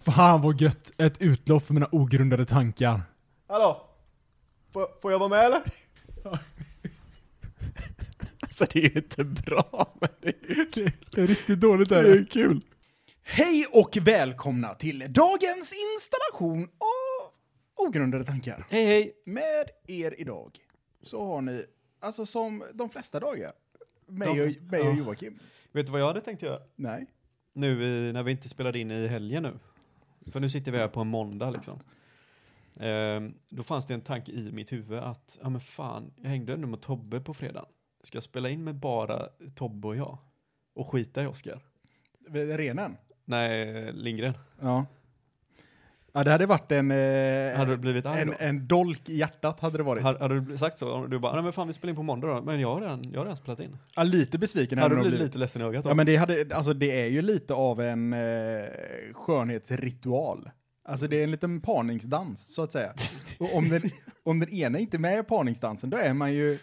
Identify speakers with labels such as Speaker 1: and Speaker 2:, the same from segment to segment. Speaker 1: Fan vad gött! Ett utlopp för mina ogrundade tankar.
Speaker 2: Hallå? Får, får jag vara med eller?
Speaker 3: Alltså det är ju inte bra, men det är ju kul.
Speaker 1: Det är riktigt dåligt
Speaker 3: Det är ju kul.
Speaker 4: Hej och välkomna till dagens installation av Ogrundade tankar.
Speaker 3: Hej hej.
Speaker 4: Med er idag så har ni, alltså som de flesta dagar, mig
Speaker 3: De
Speaker 4: och,
Speaker 3: flesta-
Speaker 4: mig och
Speaker 3: ja.
Speaker 4: Joakim.
Speaker 3: Vet du vad jag hade tänkt göra?
Speaker 4: Nej.
Speaker 3: Nu i, när vi inte spelade in i helgen nu. För nu sitter vi här på en måndag liksom. Ehm, då fanns det en tanke i mitt huvud att, ja men fan, jag hängde ändå med Tobbe på fredagen. Ska jag spela in med bara Tobbe och jag? Och skita i Oscar?
Speaker 4: Renen?
Speaker 3: Nej, Lindgren.
Speaker 4: Ja. Ja, det hade varit en... Eh,
Speaker 3: Hade du blivit arg
Speaker 4: en,
Speaker 3: då?
Speaker 4: en dolk i hjärtat hade det varit.
Speaker 3: Hade, hade du sagt så? Du bara, nej men fan vi spelar in på måndag då. Men jag har redan, jag har redan spelat in.
Speaker 4: Ja, lite besviken
Speaker 3: Hade
Speaker 4: hade
Speaker 3: du
Speaker 4: nog
Speaker 3: blivit
Speaker 4: blivit.
Speaker 3: lite ledsen i ögat då?
Speaker 4: Ja, men det, hade, alltså, det är ju lite av en eh, skönhetsritual. Alltså det är en liten parningsdans, så att säga. Och om den, om den ena inte är med i parningsdansen, då är man ju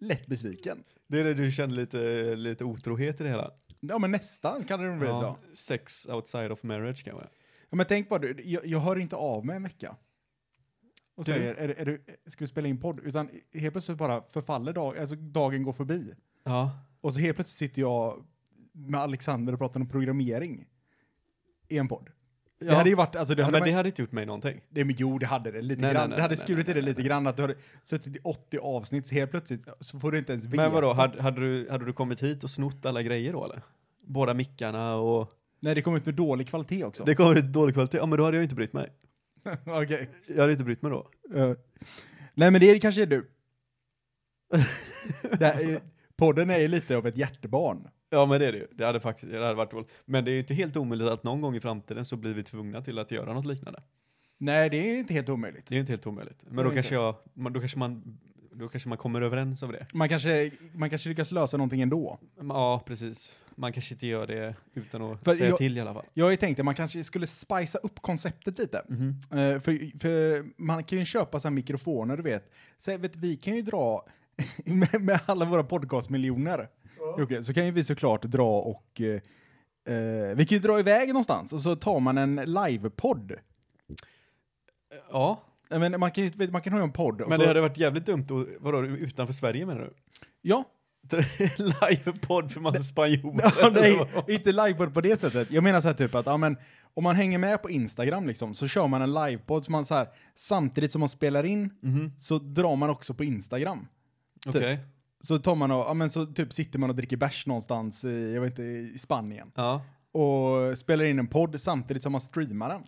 Speaker 4: lätt besviken.
Speaker 3: Det är det du kände lite, lite otrohet i det hela?
Speaker 4: Ja, men nästan kan det nog bli ja.
Speaker 3: Ja, sex outside of marriage kanske?
Speaker 4: ja, Men tänk bara, du, jag, jag hör inte av mig en vecka. Och
Speaker 3: Du-
Speaker 4: säger, är, det- är du, ska vi spela in podd? Utan helt plötsligt bara förfaller dag, alltså dagen går förbi.
Speaker 3: Ja.
Speaker 4: Och så helt plötsligt sitter jag med Alexander och pratar om programmering i en podd.
Speaker 3: ja.
Speaker 4: Det hade ju varit, alltså det
Speaker 3: ja,
Speaker 4: hade
Speaker 3: men
Speaker 4: man-
Speaker 3: det hade inte gjort mig någonting.
Speaker 4: Det, men jo, det hade det lite
Speaker 3: Nej,
Speaker 4: grann.
Speaker 3: nej, nej,
Speaker 4: det hade
Speaker 3: nej,
Speaker 4: skurit
Speaker 3: nej,
Speaker 4: i det
Speaker 3: nej,
Speaker 4: lite grann att du hade suttit i 80 avsnitt så helt plötsligt så får du inte ens veta.
Speaker 3: Men vadå, hade, hade, du, hade du kommit hit och snott alla grejer då eller? Båda mickarna och...
Speaker 4: Nej, det kom ut med dålig kvalitet också.
Speaker 3: Det kommer lite dålig kvalitet. Ja men då hade jag inte brytt mig.
Speaker 4: Okej.
Speaker 3: Jag hade inte brytt mig då.
Speaker 4: Eh, nej, men det är, kanske är du. det här, är- podden är ju lite av ett hjärtebarn.
Speaker 3: Ja men det är det ju. Det hade faktiskt, det hade varit dåligt. Men det är ju inte helt omöjligt att någon gång i framtiden så blir vi tvungna till att göra något liknande.
Speaker 4: Nej, det är inte helt omöjligt.
Speaker 3: Det är ju inte helt omöjligt. Men
Speaker 4: Nej,
Speaker 3: då
Speaker 4: inte.
Speaker 3: kanske, jag, man- då, kanske man, då kanske man kommer överens om det.
Speaker 4: Man kanske, man kanske lyckas lösa någonting ändå.
Speaker 3: Men Ja, precis. Man kanske inte gör det utan att
Speaker 4: För
Speaker 3: säga
Speaker 4: jag-
Speaker 3: till i alla fall.
Speaker 4: Jag har ju tänkt att man kanske skulle spicea upp konceptet lite.
Speaker 3: Mhm.
Speaker 4: Eh, för, för man kan ju köpa så här mikrofoner, du vet. Så, vet vi kan ju dra, med, med alla våra podcastmiljoner, Jocke, så kan ju vi såklart dra och... eh, eh, vi kan ju dra iväg någonstans och så tar man en livepodd.
Speaker 3: Ja,
Speaker 4: Jag menar, Man kan ju vet, man kan ha en podd. och
Speaker 3: men
Speaker 4: så,
Speaker 3: det hade varit jävligt dumt att, vadå, utanför Sverige menar du?
Speaker 4: Ja.
Speaker 3: Livepodd för massa spanjorer. Typ.
Speaker 4: Ja,
Speaker 3: eller
Speaker 4: nej,
Speaker 3: vad?
Speaker 4: inte livepodd på det sättet. Jag menar så här typ att ja, men, om man hänger med på Instagram liksom, så kör man en livepodd som man så här, samtidigt som man spelar in så drar man också på Instagram.
Speaker 3: Mhm.
Speaker 4: Typ.
Speaker 3: Okej.
Speaker 4: Så tar man och, ja men så typ sitter man och dricker bärs någonstans i, jag vet inte, i Spanien.
Speaker 3: Ja.
Speaker 4: Och spelar in en podd samtidigt som man streamar den.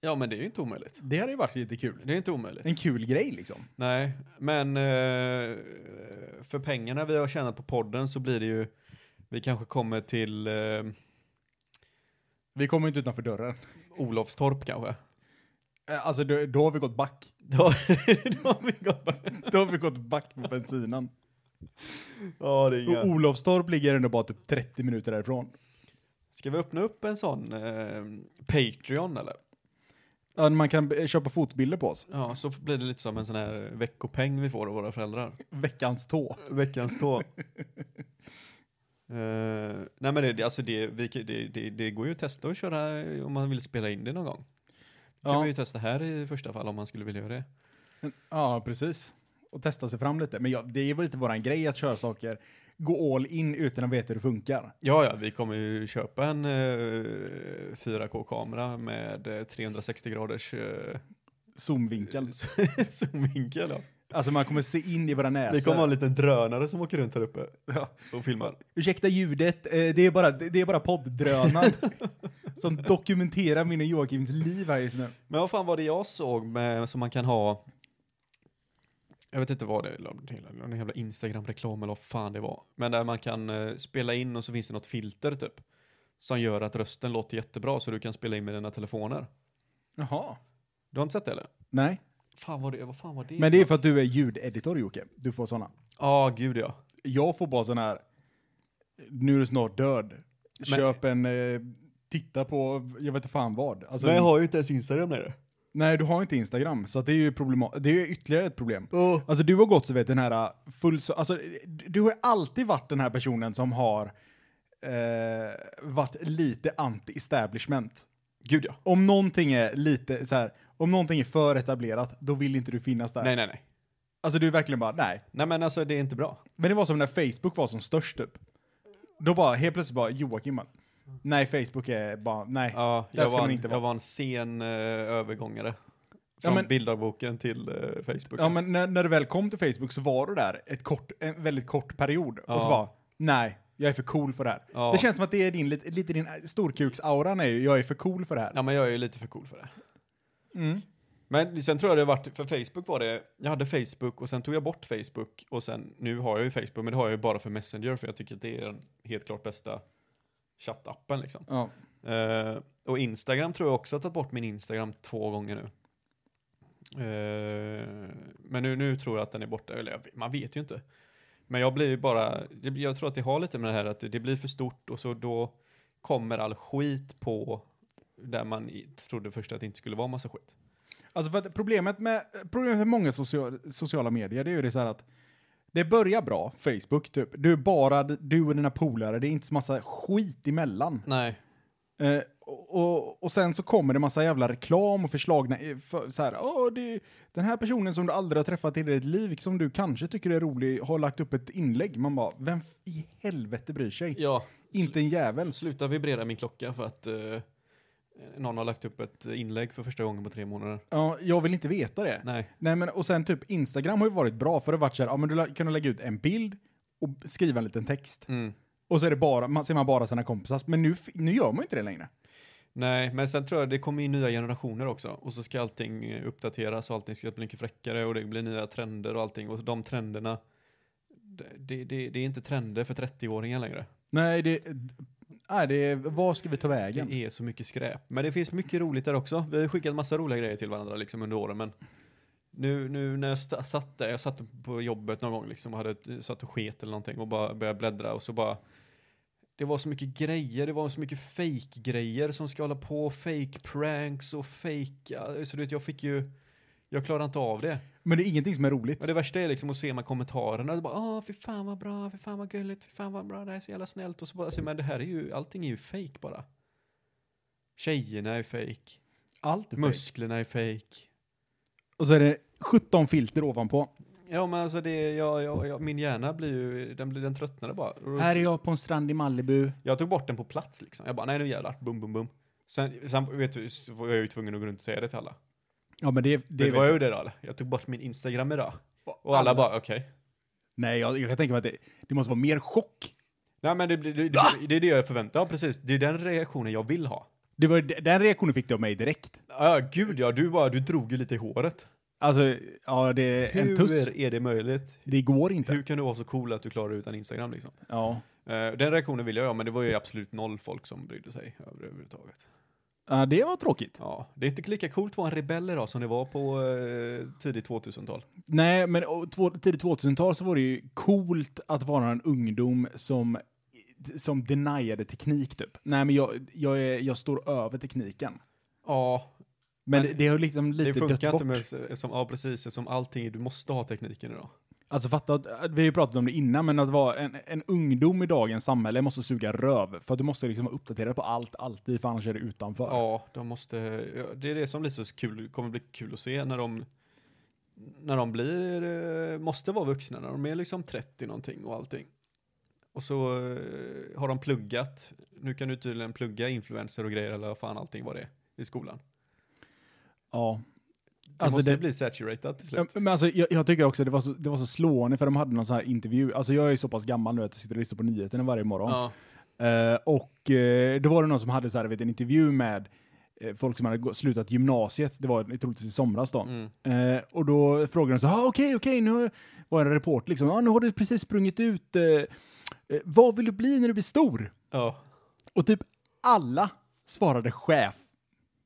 Speaker 3: ja, men det är ju inte omöjligt.
Speaker 4: Det hade ju varit lite kul.
Speaker 3: Det är inte omöjligt.
Speaker 4: En kul grej liksom.
Speaker 3: Nej, men eh, för pengarna vi har tjänat på podden så blir det ju, vi kanske kommer till eh,
Speaker 4: Vi kommer ju inte utanför dörren.
Speaker 3: Olofstorp kanske.
Speaker 4: Eh, Alltså då, då har vi gått back.
Speaker 3: Då, då har vi gått-
Speaker 4: Då har vi gått back på bensinen.
Speaker 3: Ja, det är
Speaker 4: Och
Speaker 3: inga.
Speaker 4: Olofstorp ligger ändå bara typ 30 minuter därifrån.
Speaker 3: Ska vi öppna upp en sån eh, Patreon eller?
Speaker 4: Ja, man kan eh, köpa fotbilder på oss.
Speaker 3: Ja, så blir det lite som en sån här veckopeng vi får av våra föräldrar.
Speaker 4: Veckans tå.
Speaker 3: Veckans tå. Eh, nej men det, alltså det, vi, kan- det, det, det går ju att testa att köra eh, om man vill spela in det någon gång. Det kan
Speaker 4: Ja.
Speaker 3: man ju testa här i första fall om man skulle vilja göra det.
Speaker 4: Ja, precis. Och testa sig fram lite. Men ja, det är väl lite våran grej att köra saker. Gå all in utan att veta hur det funkar.
Speaker 3: Ja, ja, vi kommer ju köpa en eh, 4K-kamera med eh, 360 graders eh,
Speaker 4: Zoomvinkel.
Speaker 3: zoomvinkel. Ja.
Speaker 4: Alltså man kommer se in i våra näsor.
Speaker 3: Vi kommer ha en liten drönare som åker runt här uppe
Speaker 4: Ja.
Speaker 3: och filmar.
Speaker 4: Ursäkta ljudet, eh, det är bara, det är bara podddrönaren som dokumenterar min och Joakims liv här just nu.
Speaker 3: Men vad fan var det jag såg med, som man kan ha? Jag vet inte vad det är, någon jävla Instagram-reklam eller vad fan det var. Men där man kan eh, spela in och så finns det något filter typ. Som gör att rösten låter jättebra så du kan spela in med dina telefoner.
Speaker 4: Jaha.
Speaker 3: Du har inte sett det eller?
Speaker 4: Nej,
Speaker 3: Fan vad det, vad fan var det?
Speaker 4: men det är för att du är ljudeditor Jocke. Du får sådana.
Speaker 3: Ja, gud ja.
Speaker 4: Jag får bara sån här, nu är du snart död.
Speaker 3: Men-
Speaker 4: Köp en, eh, titta på, jag vet inte fan vad. Alltså,
Speaker 3: har ju inte ens Instagram längre.
Speaker 4: Nej, du har inte Instagram, så att det är ju problema- det är ju ytterligare ett problem.
Speaker 3: Oh.
Speaker 4: Alltså du har gått så vet den här äh, full... så- Alltså d- du har ju alltid varit den här personen som har eh, varit lite anti-establishment.
Speaker 3: Gud ja.
Speaker 4: Om någonting är lite så här, om någonting är för etablerat, då vill inte du finnas där.
Speaker 3: Nej, nej, nej.
Speaker 4: Alltså du är verkligen bara, nej.
Speaker 3: Nej men alltså det är inte bra.
Speaker 4: Men det var som när Facebook var som störst typ. Då bara, helt plötsligt bara, Joakim bara, nej Facebook är bara, nej.
Speaker 3: Ja,
Speaker 4: Där
Speaker 3: jag,
Speaker 4: ska
Speaker 3: var
Speaker 4: man
Speaker 3: en,
Speaker 4: inte vara.
Speaker 3: jag var en sen eh, övergångare. Från
Speaker 4: men-
Speaker 3: bilddagboken till eh, Facebook.
Speaker 4: Ja, men när, när du väl kom till Facebook så var du där ett kort, en väldigt kort period. Och så
Speaker 3: Ja.
Speaker 4: bara, nej, jag är för cool för det här.
Speaker 3: Ja.
Speaker 4: Det känns som att det är din, lite, lite din storkuksauran är ju, jag är för cool för det här.
Speaker 3: ja, men jag är ju lite för cool för det.
Speaker 4: Mm.
Speaker 3: Men sen tror jag det har varit, för Facebook var det, jag hade Facebook och sen tog jag bort Facebook och sen, nu har jag ju Facebook men det har jag ju bara för Messenger för jag tycker att det är den helt klart bästa chattappen liksom.
Speaker 4: Ja.
Speaker 3: Eh, och Instagram tror jag också har tagit bort min Instagram två gånger nu. Eh, men nu, nu tror jag att den är borta, eller jag, man vet ju inte. Men jag blir ju bara, det, blir- jag tror att det har lite med det här att det, det blir för stort och så då kommer all skit på där man i, trodde först att det inte skulle vara massa skit.
Speaker 4: Alltså för att problemet med, problemet med många social, sociala medier, det är ju det så här att det börjar bra, Facebook typ. Du är bara d- du och dina polare, det är inte så massa skit emellan.
Speaker 3: Nej.
Speaker 4: Eh, och, och, och sen så kommer det massa jävla reklam och förslagna, eh, för, så här, Åh, det, den här personen som du aldrig har träffat i ditt liv, som du kanske tycker är rolig, har lagt upp ett inlägg. Man bara, vem f- i helvete bryr sig?
Speaker 3: Ja,
Speaker 4: Inte en jävel.
Speaker 3: sluta vibrera min klocka för att eh, någon har lagt upp ett inlägg för första gången på tre månader.
Speaker 4: Ja, jag vill inte veta det.
Speaker 3: Nej.
Speaker 4: Nej men och sen typ Instagram har ju varit bra för det har varit så här, ja men du la- kan du lägga ut en bild och skriva en liten text.
Speaker 3: Mm.
Speaker 4: Och så är det bara, man, ser man bara sina kompisar. Men nu, f- nu gör man ju inte det längre.
Speaker 3: Nej, men sen tror jag det kommer in nya generationer också. Och så ska allting eh, uppdateras och allting ska bli mycket fräckare och det blir nya trender och allting. Och de trenderna, det, det, det, det är inte trender för 30-åringar längre.
Speaker 4: Nej, det, nej, det är, vad ska vi ta vägen?
Speaker 3: Det är så mycket skräp. Men det finns mycket roligt där också. Vi har ju skickat massa roliga grejer till varandra liksom under åren, men nu, nu när jag sta- satt där, jag satt på jobbet någon gång liksom och hade ett- satt och sket eller någonting och bara började bläddra och så bara det var så mycket grejer, det var så mycket fake grejer som ska hålla på, fake pranks och fake, så du vet jag fick ju, jag klarade inte av det.
Speaker 4: Men det är ingenting som är roligt.
Speaker 3: Men det värsta är liksom att se man kommentarerna och bara åh fy fan vad bra, fy fan vad gulligt, fy fan vad bra, det här är så jävla snällt och så bara, alltså, men det här är ju, allting är ju fake bara. Tjejerna är fake,
Speaker 4: Allt är fake.
Speaker 3: musklerna är fake.
Speaker 4: Och så är det 17 filter ovanpå.
Speaker 3: Ja men alltså det, jag, jag, jag, min hjärna blir ju, den, blir, den tröttnade bara. Och då-
Speaker 4: Här är jag på en strand i Malibu.
Speaker 3: Jag tog bort den på plats liksom. Jag bara nej nu jävlar, bum bum bum. Sen, sen vet du, så var jag ju tvungen att gå runt och säga det till alla.
Speaker 4: Ja men det,
Speaker 3: Det
Speaker 4: det
Speaker 3: vet var jag gjorde idag eller? Jag tog bort min Instagram idag. Och alla bara okej.
Speaker 4: Nej, jag, jag kan tänka mig att det, det måste vara mer chock.
Speaker 3: Nej men det, blir- det, det, det är det jag förväntar Ja precis, det är den reaktionen jag vill ha.
Speaker 4: Det var, ju- den reaktionen fick du av mig direkt.
Speaker 3: Ja, gud ja, du bara, du drog ju lite i håret.
Speaker 4: Alltså, ja det är en tuss.
Speaker 3: Hur är det möjligt?
Speaker 4: Det går inte.
Speaker 3: Hur kan du vara så cool att du klarar utan Instagram liksom?
Speaker 4: Ja.
Speaker 3: Eh, den reaktionen vill jag ha, men det var ju absolut noll folk som brydde sig över, överhuvudtaget.
Speaker 4: ja, det var tråkigt.
Speaker 3: Ja, det är inte lika coolt att vara en rebell idag som det var på eh, tidigt 2000-tal.
Speaker 4: Nej, men och två, tidigt 2000-tal så var det ju coolt att vara en ungdom som, som deniade teknik typ. Nej, men jag, jag, är, jag står över tekniken.
Speaker 3: Ja,
Speaker 4: Men,
Speaker 3: Men
Speaker 4: det, det har liksom
Speaker 3: det
Speaker 4: lite dött
Speaker 3: funkar
Speaker 4: bort.
Speaker 3: inte med, eh, som, ja precis, som allting, du måste ha tekniken idag.
Speaker 4: Alltså fatta, att- att vi har ju pratat om det innan, men att vara en, en ungdom i dagens samhälle måste suga röv. För att du måste liksom vara uppdaterad på allt, alltid, för annars är du utanför.
Speaker 3: Ja, de måste, ja, det är det som blir så kul, kommer bli kul att se när de när de blir, eh, måste vara vuxna, när de är liksom 30 någonting och allting. Och så eh, har de pluggat, nu kan du tydligen plugga influencer och grejer eller vad fan allting var det är i skolan.
Speaker 4: Ja.
Speaker 3: Det
Speaker 4: Alltså
Speaker 3: måste
Speaker 4: det-
Speaker 3: bli saturated till
Speaker 4: Ja,
Speaker 3: slut.
Speaker 4: Men alltså, jag, jag tycker också det var, så, det var så slående för de hade någon sån här intervju. Alltså jag är ju så pass gammal nu att jag sitter och lyssnar på nyheterna varje morgon.
Speaker 3: Ja.
Speaker 4: Eh, och eh, då var det någon som hade så här, vet, en intervju med eh, folk som hade gå- slutat gymnasiet. Det var troligtvis i somras då.
Speaker 3: Mm.
Speaker 4: Eh, och då frågade de så här, "Ah, okej, okej, nu var det en report liksom. Ah, nu har du precis sprungit ut. Eh, eh, vad vill du bli när du blir stor?
Speaker 3: ja.
Speaker 4: Och typ alla svarade chef.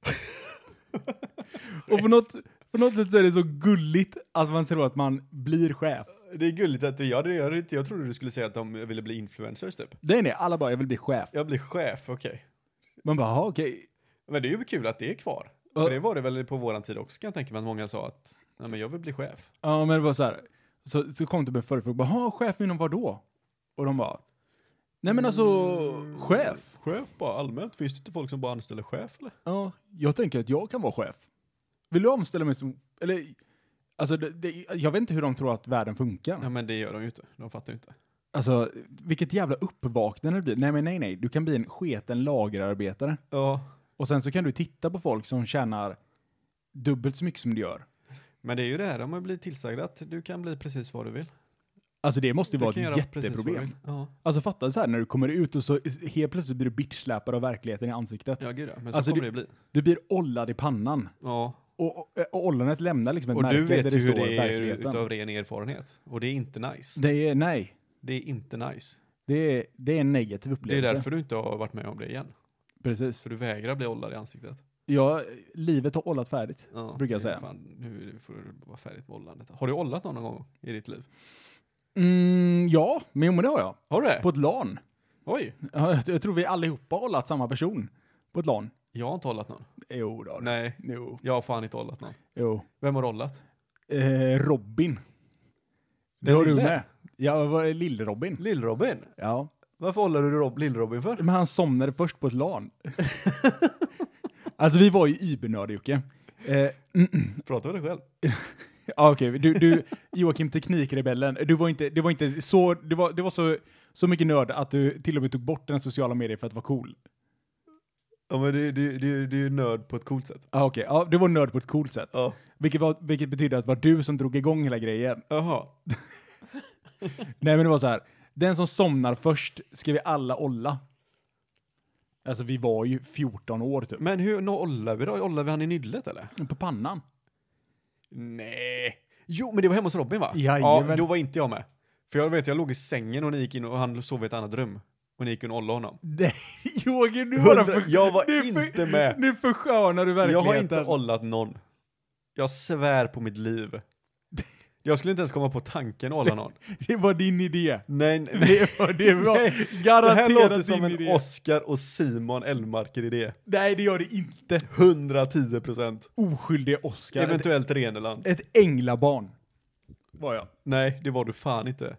Speaker 4: och på något, på något sätt så är det så gulligt att man ser att man blir chef.
Speaker 3: Det är gulligt att du gör det, gör det inte. Jag trodde du skulle säga att de ville bli influencers typ.
Speaker 4: Nej, nej, alla bara, jag vill bli chef.
Speaker 3: Jag blir chef, okej.
Speaker 4: Man bara, "Ah, okej.
Speaker 3: Men det är ju kul att det är kvar.
Speaker 4: Ja.
Speaker 3: För det var det väl på våran tid också kan jag tänka mig att många sa att, nej men jag vill bli chef.
Speaker 4: Ja, typ men det var så här. Så, så kom det med en förfrågan. Bara, "Ha, chef inom vad då? Och de bara, Nej men alltså,
Speaker 3: Mm.
Speaker 4: chef.
Speaker 3: Chef bara allmänt, finns det inte folk som bara anställer chef eller?
Speaker 4: Ja, jag tänker att jag kan vara chef. Vill du omställa mig som... Eller, alltså, det, det, jag vet inte hur de tror att världen funkar.
Speaker 3: Ja men det gör de ju inte, de fattar ju inte.
Speaker 4: Alltså, vilket jävla uppvaknande det blir. Nej, men nej, nej. Du kan bli en sketen lagerarbetare.
Speaker 3: Ja,
Speaker 4: Och sen så kan du titta på folk som tjänar dubbelt så mycket som du gör.
Speaker 3: men det är ju det här, de har blivit tillsagda att du kan bli precis vad du vill.
Speaker 4: Alltså det måste ju
Speaker 3: Du
Speaker 4: vara
Speaker 3: kan
Speaker 4: ett
Speaker 3: göra precis vad du
Speaker 4: jätteproblem.
Speaker 3: vill. Ja,
Speaker 4: Alltså fatta så här när du kommer ut och så helt plötsligt blir du bitchsläpad av verkligheten i ansiktet.
Speaker 3: ja gud ja, men så
Speaker 4: Alltså,
Speaker 3: kommer
Speaker 4: du-
Speaker 3: det bli.
Speaker 4: Du blir ollad i pannan.
Speaker 3: Ja,
Speaker 4: Och, och, eh, och ollonet lämnar liksom ett
Speaker 3: och
Speaker 4: märke
Speaker 3: du vet
Speaker 4: där
Speaker 3: ju
Speaker 4: det
Speaker 3: hur
Speaker 4: står
Speaker 3: det är
Speaker 4: verkligheten.
Speaker 3: utav ren erfarenhet. Och det är inte nice.
Speaker 4: Det är, nej.
Speaker 3: Det är inte nice.
Speaker 4: Det är, det är en negativ
Speaker 3: Det är
Speaker 4: upplevelse.
Speaker 3: därför du inte har varit med om det igen.
Speaker 4: Precis.
Speaker 3: Så du vägrar bli ollad i ansiktet.
Speaker 4: Ja, livet har ollat färdigt.
Speaker 3: Ja,
Speaker 4: Brukar jag
Speaker 3: det-
Speaker 4: säga.
Speaker 3: Fan, nu får du vara färdigt med ollandet. Har du ollat någon gång i ditt liv?
Speaker 4: Mm, ja, men, men det har jag.
Speaker 3: Har du det?
Speaker 4: På ett LAN.
Speaker 3: Oj!
Speaker 4: Ja, Jag jag tror vi allihopa har ollat samma person. På ett LAN.
Speaker 3: Jag har inte ollat någon.
Speaker 4: Jo då.
Speaker 3: Nej,
Speaker 4: Jo.
Speaker 3: jag har fan inte ollat någon.
Speaker 4: jo.
Speaker 3: Vem har ollat?
Speaker 4: Eh, Robin. Det
Speaker 3: Den
Speaker 4: har du
Speaker 3: lille?
Speaker 4: med. Jag var Lill-Robin.
Speaker 3: Lill-Robin.
Speaker 4: Ja.
Speaker 3: Varför ollade du Rob- Lill-Robin för?
Speaker 4: Men han somnade först på ett LAN. alltså vi var ju ybernörd Jocke. Eh,
Speaker 3: Prata med dig själv.
Speaker 4: Ja, Ah, okej. Du, du, Joakim Teknikrebellen, du var inte, det var inte så, det var, det var så, så mycket nörd att du till och med tog bort den sociala medier för att vara cool.
Speaker 3: Ja men du, du, du, du är ju nörd på ett coolt sätt.
Speaker 4: Ja, Ah, okej. Ja, du var nörd på ett coolt sätt.
Speaker 3: Ja.
Speaker 4: Vilket, var, vilket betyder att det var du som drog igång hela grejen.
Speaker 3: Jaha.
Speaker 4: Nej, men det var så här. Den som somnar först ska vi alla olla. Alltså, vi var ju 14 år typ.
Speaker 3: Men hur nå ollar vi då? Ollar vi han i nyllet eller?
Speaker 4: På pannan.
Speaker 3: Nej. Jo men det var hemma hos Robin va?
Speaker 4: Jajamän.
Speaker 3: Ja, då var inte jag med. För jag vet, jag låg i sängen och ni gick in och han sov i ett annat rum. Och ni gick in och ollade honom.
Speaker 4: Nej, Joakim, du bara...
Speaker 3: Hundra,
Speaker 4: För,
Speaker 3: jag var
Speaker 4: du för-
Speaker 3: inte med.
Speaker 4: Nu förskönar du
Speaker 3: Jag
Speaker 4: verkligheten.
Speaker 3: har inte ollat någon. Jag svär på mitt liv. Jag skulle inte ens komma på tanken att olla någon.
Speaker 4: Det var din idé.
Speaker 3: Nej, nej.
Speaker 4: Det var, det var
Speaker 3: Det här
Speaker 4: garanterat
Speaker 3: låter
Speaker 4: din
Speaker 3: som en
Speaker 4: idé.
Speaker 3: Oscar och Simon Elmarker-idé.
Speaker 4: Nej, det gör det inte.
Speaker 3: 110 procent.
Speaker 4: Oskyldig Oscar. Ett,
Speaker 3: Eventuellt Reneland.
Speaker 4: ett änglabarn. Var jag.
Speaker 3: Nej, det typ- var du fan inte.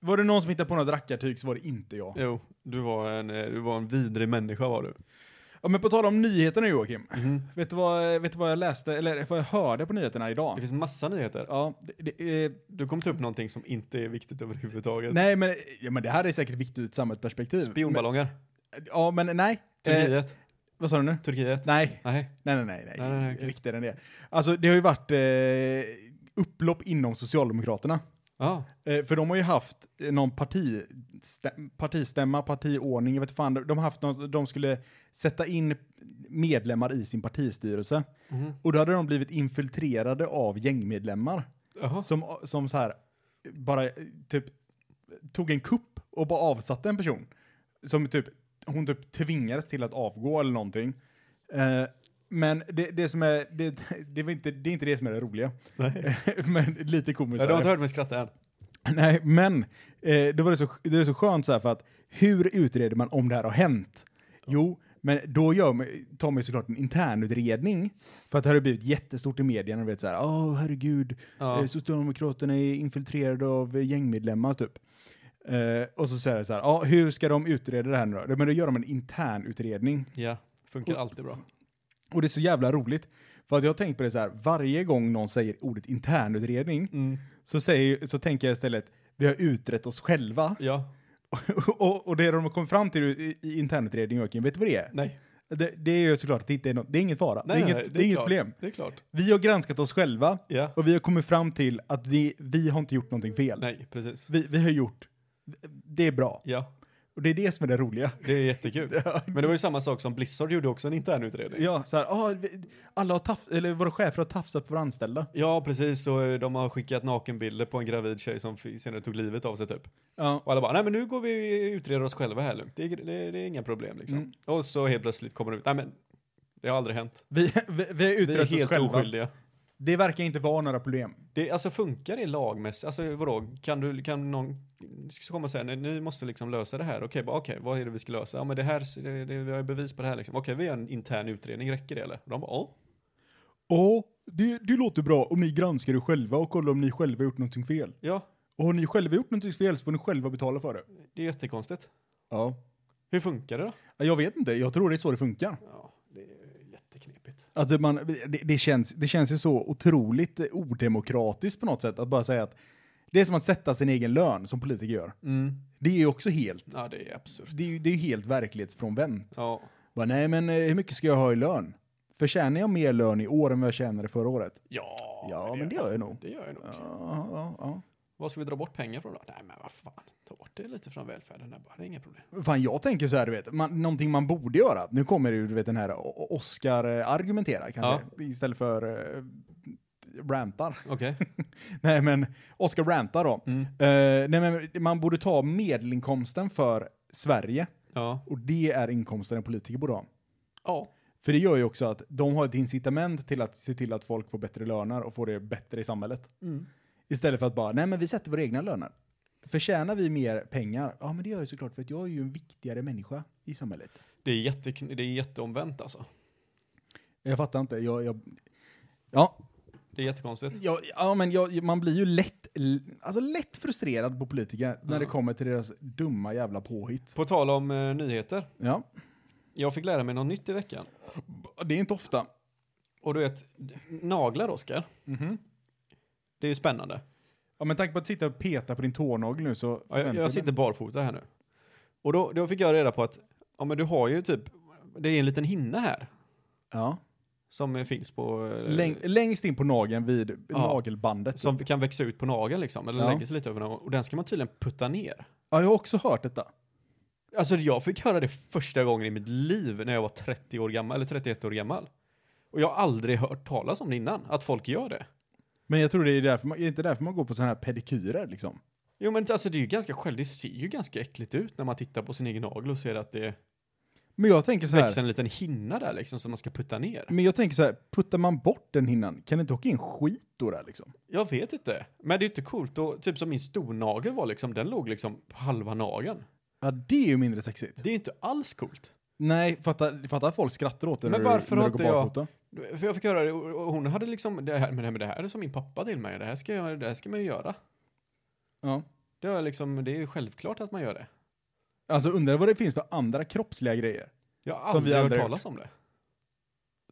Speaker 4: Var det någon som hittade på något rackartyg så var det inte jag.
Speaker 3: Jo, du var en, eh, du var en vidrig människa var du.
Speaker 4: Ja, men på tal om nyheterna Joakim.
Speaker 3: Mhm.
Speaker 4: Vet, du vad, vet du vad jag läste, eller vad jag hörde på nyheterna
Speaker 3: Det
Speaker 4: idag?
Speaker 3: finns massa nyheter.
Speaker 4: Ja, det, det, eh,
Speaker 3: Du kommer ta upp någonting som inte är viktigt överhuvudtaget.
Speaker 4: nej men, ja, men det här är säkert viktigt ur ett samhällsperspektiv.
Speaker 3: Spionballonger.
Speaker 4: Men, ja, men nej. Eh,
Speaker 3: Turkiet.
Speaker 4: vad sa du nu?
Speaker 3: Turkiet.
Speaker 4: Nej,
Speaker 3: Nej.
Speaker 4: Nej, nej, nej. nej.
Speaker 3: Nej, nej, nej, okej.
Speaker 4: Viktigare än det. Alltså, det har ju varit eh, upplopp inom Socialdemokraterna.
Speaker 3: Ja.
Speaker 4: Eh, för de har ju haft eh, någon partistäm, partistämma, partiordning, jag vet fan. De har haft något, de skulle sätta in medlemmar i sin partistyrelse.
Speaker 3: Mhm.
Speaker 4: Och då hade de blivit infiltrerade av gängmedlemmar.
Speaker 3: Jaha.
Speaker 4: Som, som så här, bara eh, typ tog en kupp och bara avsatte en person. Som typ, hon typ tvingades till att avgå eller någonting. Eh, men det, det som är, det, det, var inte, det är inte det som är det roliga.
Speaker 3: Nej.
Speaker 4: men lite komiskt.
Speaker 3: Ja,
Speaker 4: är
Speaker 3: du har
Speaker 4: det.
Speaker 3: inte hört mig skratta än.
Speaker 4: Nej, men eh, då var det, så, det är så skönt så här för att hur utreder man om det här har hänt? Jo, men då gör man, tar man ju såklart en internutredning för att det här har blivit jättestort i medierna. Du vet så här, åh herregud,
Speaker 3: Ja.
Speaker 4: eh, Socialdemokraterna är infiltrerade av eh, gängmedlemmar typ. Eh, och så säger det så här, ja hur ska de utreda det här nu då? Men då gör de en internutredning.
Speaker 3: Ja. Funkar alltid bra.
Speaker 4: Och det är så jävla roligt. För att jag har tänkt på det så här, varje gång någon säger ordet internutredning
Speaker 3: Mm.
Speaker 4: så, säger, så tänker jag istället, vi har utrett oss själva.
Speaker 3: Ja.
Speaker 4: och, och det de har kommit fram till i, i internutredningen, Joakim, vet du vad det är?
Speaker 3: Nej.
Speaker 4: Det, det är ju såklart att det inte är något, det är ingen fara.
Speaker 3: Nej,
Speaker 4: det är
Speaker 3: nej,
Speaker 4: inget,
Speaker 3: nej,
Speaker 4: det är inget
Speaker 3: klart.
Speaker 4: problem.
Speaker 3: Det är klart.
Speaker 4: Vi har granskat oss själva
Speaker 3: Ja.
Speaker 4: och vi har kommit fram till att vi, vi har inte gjort någonting fel.
Speaker 3: Nej, precis.
Speaker 4: Vi, vi har gjort, det är bra.
Speaker 3: Ja,
Speaker 4: Och det är det som är det roliga.
Speaker 3: det är jättekul. Men det var ju samma sak som Blizzard gjorde också en intern utredning.
Speaker 4: Ja, så här, ah, vi- alla har tafs, eller våra chefer har tafsat på våra anställda.
Speaker 3: Ja, precis. Och eh, de har skickat nakenbilder på en gravid tjej som f- senare tog livet av sig typ.
Speaker 4: Ja.
Speaker 3: Och alla bara, nej men nu går vi och utreder oss själva här lugnt. Det, är- det, det är inga problem liksom.
Speaker 4: Mm.
Speaker 3: Och så helt plötsligt kommer det ut, nej men det har aldrig hänt.
Speaker 4: Vi, vi, vi har
Speaker 3: Vi är
Speaker 4: utrett oss
Speaker 3: helt
Speaker 4: själva.
Speaker 3: oskyldiga.
Speaker 4: Det verkar inte vara några problem.
Speaker 3: Det, alltså funkar det lagmässigt? Alltså vadå, kan du, kan någon ska komma och säga, nej, ni måste liksom lösa det här. Okej, bara okej, vad är det vi ska lösa? Ja men det här, det, det, vi har ju bevis på det här liksom. Okej, vi gör en intern utredning, räcker det eller? Och de bara, ja.
Speaker 4: Ja, det, det låter bra om ni granskar er själva och kollar om ni själva har gjort någonting fel.
Speaker 3: Ja,
Speaker 4: Och har ni själva gjort någonting fel så får ni själva betala för det.
Speaker 3: Det är jättekonstigt.
Speaker 4: Ja.
Speaker 3: Hur funkar det då?
Speaker 4: Jag vet inte, jag tror det är så det funkar.
Speaker 3: Ja, det är jätteknepigt.
Speaker 4: Alltså man, det, det, känns, det känns ju så otroligt eh, odemokratiskt på något sätt att bara säga att det är som att sätta sin egen lön som politiker gör. Det är ju också helt,
Speaker 3: Ja, det är absurt.
Speaker 4: det är ju det är ju helt verklighetsfrånvänt.
Speaker 3: Ja,
Speaker 4: Bara, nej men eh, hur mycket ska jag ha i lön? Förtjänar jag mer lön i år än vad jag tjänade förra året?
Speaker 3: ja,
Speaker 4: Ja, men det gör jag nog.
Speaker 3: det gör jag nog.
Speaker 4: Ja, ja, ja.
Speaker 3: Vad ska vi dra bort pengar från då? Nej, men vad fan. Ta bort det lite från välfärden där bara. Det är inga problem.
Speaker 4: Fan, jag tänker så här, du vet, man, någonting man borde göra. Nu kommer ju, du vet, den här O- O- Oscar eh, argumentera kanske, istället för eh, rantar.
Speaker 3: Okej.
Speaker 4: Nej, men Oscar rantar då.
Speaker 3: Mm.
Speaker 4: Eh, nej, men man borde ta medelinkomsten för Sverige
Speaker 3: Ja.
Speaker 4: och det är inkomsten en politiker borde ha.
Speaker 3: Ja.
Speaker 4: För det gör ju också att de har ett incitament till att se till att folk får bättre löner och får det bättre i samhället. Istället för att bara, nej men vi sätter våra egna löner. Förtjänar vi mer pengar? Ja men det gör jag såklart för att jag är ju en viktigare människa i samhället.
Speaker 3: Det är, jätte, det är jätteomvänt alltså.
Speaker 4: Jag fattar inte, jag... jag ja,
Speaker 3: Det är jättekonstigt.
Speaker 4: jag, ja men jag, man blir ju lätt, alltså lätt frustrerad på politiker när
Speaker 3: Ja.
Speaker 4: det kommer till deras dumma jävla påhitt.
Speaker 3: På tal om eh, nyheter.
Speaker 4: Ja,
Speaker 3: Jag fick lära mig något nytt i veckan.
Speaker 4: det är inte ofta.
Speaker 3: Och du vet, naglar Oskar. Det är ju spännande.
Speaker 4: Ja, men tanke på att sitta och peta på din tånagel nu så...
Speaker 3: Ja, jag,
Speaker 4: förväntar
Speaker 3: jag sitter barfota här nu. Och då, då fick jag reda på att, ja men du har ju typ, det är en liten hinna här.
Speaker 4: Ja.
Speaker 3: Som eh, finns på... eh,
Speaker 4: Läng, längst in på nageln vid
Speaker 3: Ja.
Speaker 4: nagelbandet.
Speaker 3: som kan växa ut på nageln liksom, eller
Speaker 4: Ja.
Speaker 3: lägga sig lite över nageln. Och den ska man tydligen putta ner.
Speaker 4: Ja, jag har också hört detta.
Speaker 3: Alltså jag fick höra det första gången i mitt liv när jag var 30 år gammal, eller 31 år gammal. Och jag har aldrig hört talas om det innan, att folk gör det.
Speaker 4: Men jag tror det är, därför man, är det inte därför man går på sådana här pedikyrer liksom.
Speaker 3: Jo men alltså det är ju ganska själv, det ser ju ganska äckligt ut när man tittar på sin egen nagel och ser att det
Speaker 4: Men jag tänker så
Speaker 3: växer
Speaker 4: här,
Speaker 3: en liten hinna där liksom som man ska putta ner.
Speaker 4: men jag tänker så här, puttar man bort den hinnan, kan det inte åka in skit då där liksom?
Speaker 3: Jag vet inte. Men det är inte coolt och typ som min stornagel var liksom, den låg liksom på halva nageln.
Speaker 4: Ja, det är ju mindre sexigt.
Speaker 3: Det är inte alls coolt.
Speaker 4: Nej, fatta, fatta att folk skrattar åt det
Speaker 3: Men
Speaker 4: när du-
Speaker 3: varför
Speaker 4: när
Speaker 3: har
Speaker 4: du går
Speaker 3: inte jag-
Speaker 4: barfota.
Speaker 3: För jag fick höra det och och hon hade liksom, det här, men det här- men det här är som min pappa till mig, det här ska, jag, det här ska man ju göra.
Speaker 4: Ja.
Speaker 3: Det är, liksom, det är ju självklart att man gör det.
Speaker 4: Alltså undrar vad det finns för andra kroppsliga grejer.
Speaker 3: Jag har
Speaker 4: Som vi
Speaker 3: aldrig hört
Speaker 4: aldrig har
Speaker 3: talas om det.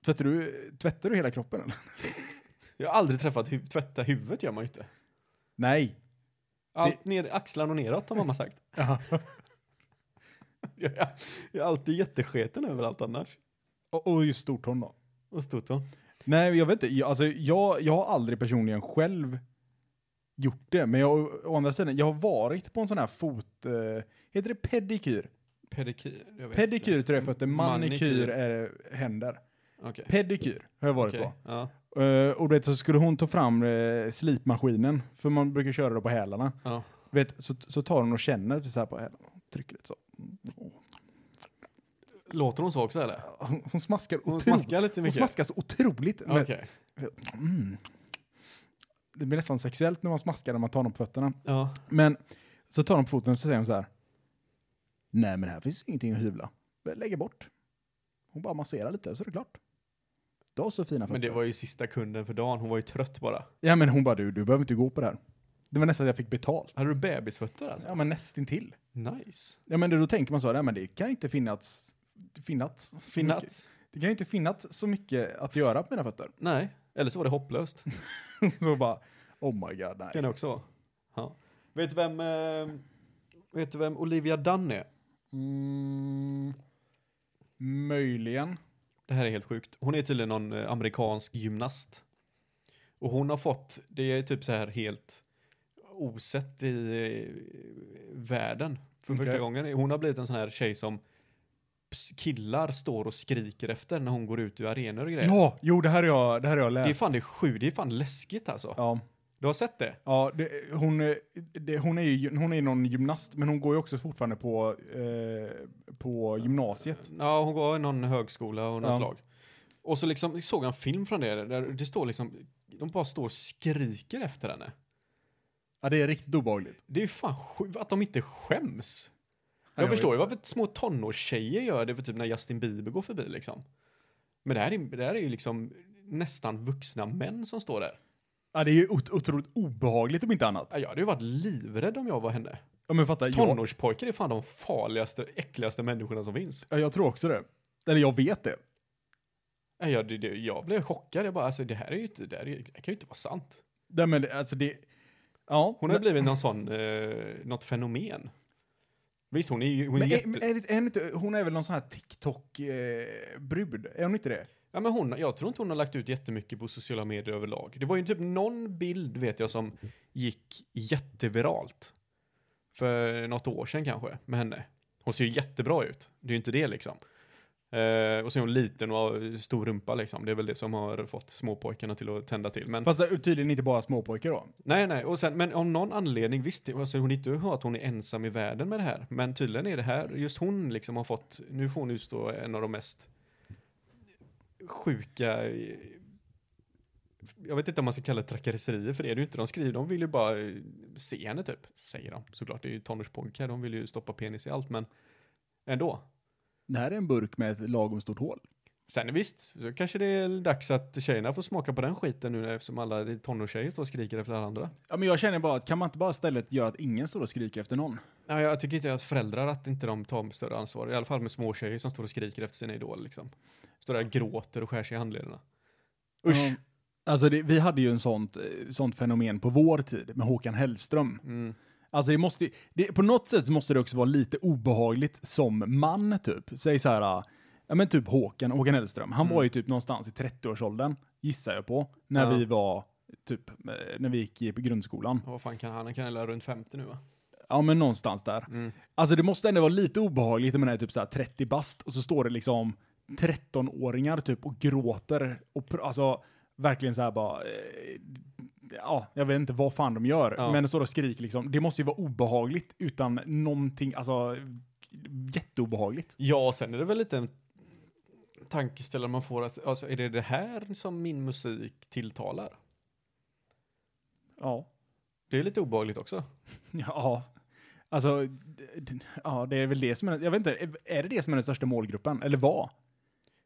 Speaker 4: Tvättar du, tvättar du hela kroppen eller?
Speaker 3: Jag har aldrig träffat huv- tvätta huvudet gör man ju inte.
Speaker 4: Nej.
Speaker 3: Allt ner, axlarna och neråt har mamma sagt. Jag, är- jag är alltid jättesketen överallt annars.
Speaker 4: Och, och just stortån då?
Speaker 3: Och stortån.
Speaker 4: Nej, jag vet inte. Jag, alltså, jag, jag har aldrig personligen själv gjort det. Men jag, å andra sidan, jag har varit på en sån här fot... Eh, heter det pedikyr?
Speaker 3: Pedikyr, jag vet
Speaker 4: Pedikyr tror jag fötter, manikyr
Speaker 3: Manikyr.
Speaker 4: är händer.
Speaker 3: inte. Mm, Okej.
Speaker 4: Pedikyr har jag varit
Speaker 3: Okej.
Speaker 4: på.
Speaker 3: Ja.
Speaker 4: Eh, och du vet, så skulle hon ta fram eh, slipmaskinen, för man brukar köra det på hälarna.
Speaker 3: Ja.
Speaker 4: Du Vet, så, så tar hon och känner så här på hälarna. Trycker lite så.
Speaker 3: Låter hon så också eller?
Speaker 4: Hon, Äh, hon smaskar
Speaker 3: Hon
Speaker 4: otroligt.
Speaker 3: smaskar lite
Speaker 4: hon
Speaker 3: mycket.
Speaker 4: smaskar så otroligt.
Speaker 3: Okej.
Speaker 4: Mm. Det blir nästan sexuellt när man smaskar när man tar dem på fötterna.
Speaker 3: Ja.
Speaker 4: Men så tar de på foten och så säger de så här. Nej men här finns ingenting att hyvla. Lägg bort. Hon bara masserar lite så är det klart. Du har så fina fötter.
Speaker 3: Men det var ju sista kunden för dagen, hon var ju trött bara.
Speaker 4: Ja men hon bara du, du behöver inte gå på det här. Det var nästan att jag fick betalt.
Speaker 3: Hade du bebisfötter alltså?
Speaker 4: Ja men nästintill.
Speaker 3: Nice.
Speaker 4: Ja men då tänker man så här, nej men det kan ju inte finnas, finnas, så mycket-
Speaker 3: Finnats?
Speaker 4: Det kan ju inte finnas så mycket att göra på mina fötter.
Speaker 3: Nej. Eller så var det hopplöst.
Speaker 4: så bara, oh my god nej.
Speaker 3: kan det också vara. Ja. Vet du vem, eh, vet du vem Olivia Dunn är?
Speaker 4: Mm, möjligen.
Speaker 3: Det här är helt sjukt. Hon är tydligen någon eh, amerikansk gymnast. Och hon har fått, det är typ så här helt osett i eh, världen för
Speaker 4: Okej.
Speaker 3: första gången. Hon har blivit en sån här tjej som ps- killar står och skriker efter när hon går ut ur arenor och grejer.
Speaker 4: Ja, jo det här har jag, det här har jag läst.
Speaker 3: Det är fan det är sju, det är fan läskigt alltså.
Speaker 4: Ja,
Speaker 3: Du har sett det?
Speaker 4: ja det, hon, eh, det, hon är ju hon är någon gymnast, men hon går ju också fortfarande på, eh, på gymnasiet.
Speaker 3: Ja, hon går i någon högskola och något
Speaker 4: Ja.
Speaker 3: slag. Och så liksom såg jag en film från det där det står liksom, de bara står och skriker efter henne.
Speaker 4: Ja, det är riktigt obehagligt.
Speaker 3: Det är ju fan sjukt att de inte skäms.
Speaker 4: Ja,
Speaker 3: Jag,
Speaker 4: jag
Speaker 3: förstår ju varför små tonårstjejer gör det för typ när Justin Bieber går förbi liksom. Men det här är, det här är ju liksom nästan vuxna män som står där.
Speaker 4: Ja, det är ju ot- otroligt obehagligt om inte annat.
Speaker 3: Ja, Jag hade ju varit livrädd om jag var henne.
Speaker 4: Ja, men fatta. Jag,
Speaker 3: Tonårspojkar är fan de farligaste, äckligaste människorna som finns.
Speaker 4: ja, jag tror också det. Eller jag vet det.
Speaker 3: Nej, Jag, det, det, jag blev chockad, jag bara alltså det här är ju inte, det, här är, ju- det kan ju inte vara sant.
Speaker 4: Nej, men det- alltså det... Ja.
Speaker 3: Hon har ju blivit någon sån, eh, något fenomen. Visst hon är ju, hon är
Speaker 4: men,
Speaker 3: jätte...
Speaker 4: men är, det, är det inte, hon är väl någon sån här TikTok-brud? är hon inte det?
Speaker 3: Ja, men hon, jag tror inte hon har lagt ut jättemycket på sociala medier överlag. Det var ju typ någon bild vet jag som gick jätteviralt. För något år sedan kanske, med henne. Hon ser ju jättebra ut, det är ju inte det liksom. Eh, och så är hon liten och har stor rumpa liksom. Det är väl det som har fått småpojkarna till att tända till. Men,
Speaker 4: Fast det är tydligen inte bara småpojkar då.
Speaker 3: nej, nej. Och sen, men om någon anledning, visst, det- alltså, hon är inte att hon är ensam i världen med det här. Men tydligen är det här, just hon liksom har fått, nu får hon utstå en av de mest sjuka, eh, jag vet inte om man ska kalla det trakasserier för det, är det är ju inte de skriver, de vill ju bara eh, se henne typ, säger de. Såklart, det är ju tonårspojkar, de vill ju stoppa penis i allt, men ändå.
Speaker 4: Det här är en burk med ett lagom stort hål.
Speaker 3: Sen visst, så kanske det är dags att tjejerna får smaka på den skiten nu eftersom alla tonårstjejer står och skriker efter alla andra.
Speaker 4: Ja, men jag känner bara att kan man inte bara istället göra att ingen står och skriker efter någon?
Speaker 3: Nej, jag tycker inte att föräldrar att inte de tar större ansvar. I alla fall med små tjejer som står och skriker efter sina idoler liksom. Står där och gråter och skär sig i handlederna. Usch!
Speaker 4: Ja. Alltså det, vi hade ju en sånt, eh, sånt fenomen på vår tid med Håkan Hellström.
Speaker 3: Mm.
Speaker 4: Alltså det måste, ju- det, på något sätt så måste det också vara lite obehagligt som man typ. Säg så här, ah, ja men typ Håkan, Håkan Hellström. Han var ju typ någonstans i 30-årsåldern, gissar jag på, när
Speaker 3: Mm. Ja.
Speaker 4: vi var typ, eh, när vi gick i grundskolan.
Speaker 3: Ja, Vad fan kan han? Han kan väl vara runt 50 nu va?
Speaker 4: Ja men någonstans där.
Speaker 3: Mm.
Speaker 4: Alltså det måste ändå vara lite obehagligt när man är typ så här 30 bast och så står det liksom 13-åringar typ och gråter och pr- alltså verkligen så här bara eh, ja, jag vet inte vad fan de gör,
Speaker 3: Ja.
Speaker 4: men står och skriker liksom. Det måste ju vara obehagligt utan någonting, alltså jätteobehagligt.
Speaker 3: Ja, och sen är det väl lite en tankeställare man får. Att, alltså, är det det här som min musik tilltalar?
Speaker 4: Ja.
Speaker 3: Det är lite obehagligt också.
Speaker 4: Ja. Alltså, d- d- ja, det är väl det som är, jag vet inte, är- är det det som är den största målgruppen? Eller vad?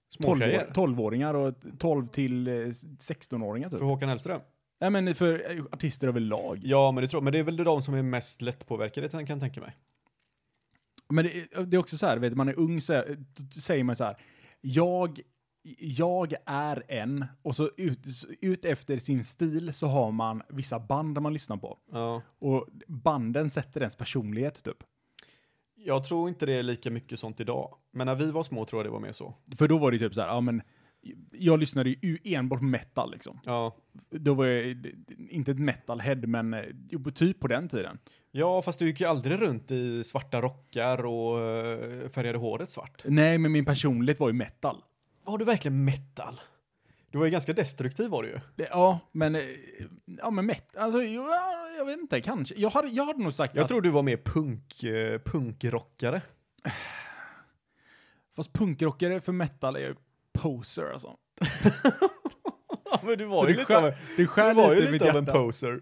Speaker 3: Småtjejer.
Speaker 4: 12-åringar och 12 till eh, 16-åringar typ.
Speaker 3: För Håkan Hellström?
Speaker 4: Nej men för eh, artister överlag.
Speaker 3: Ja, men det, tror, men det är väl de som är mest lättpåverkade kan jag tänka mig.
Speaker 4: Men det, eh, det är också så här, vet du, man är ung så, här, så säger man så här, jag, jag är en, och så ut, ut efter sin stil så har man vissa band man lyssnar på.
Speaker 3: Ja.
Speaker 4: Och banden sätter ens personlighet typ.
Speaker 3: Jag tror inte det är lika mycket sånt idag. Men när vi var små tror jag det var mer så.
Speaker 4: För då var det typ så här, ja men, jag lyssnade ju enbart på metal liksom.
Speaker 3: Ja.
Speaker 4: Då var jag eh, inte ett metalhead, men eh, jo, på- typ på den tiden.
Speaker 3: Ja, fast du gick ju aldrig runt i svarta rockar och eh, färgade håret svart.
Speaker 4: Nej, men min personlighet var ju metal.
Speaker 3: Var du verkligen metal? Du var ju ganska destruktiv var du ju.
Speaker 4: Det, ja, men... eh, Ja, men mätt. Alltså, jag, jag vet inte, kanske. Jag hade, jag hade nog sagt
Speaker 3: Jag
Speaker 4: att...
Speaker 3: tror du var mer punk, eh, punkrockare.
Speaker 4: Fast punkrockare för metal är ju poser alltså.
Speaker 3: Ja, men du
Speaker 4: Så
Speaker 3: var
Speaker 4: det
Speaker 3: ju lite
Speaker 4: skär-
Speaker 3: av en,
Speaker 4: Det
Speaker 3: du
Speaker 4: skär
Speaker 3: var
Speaker 4: lite i mitt
Speaker 3: ju lite av en
Speaker 4: hjärta.
Speaker 3: poser.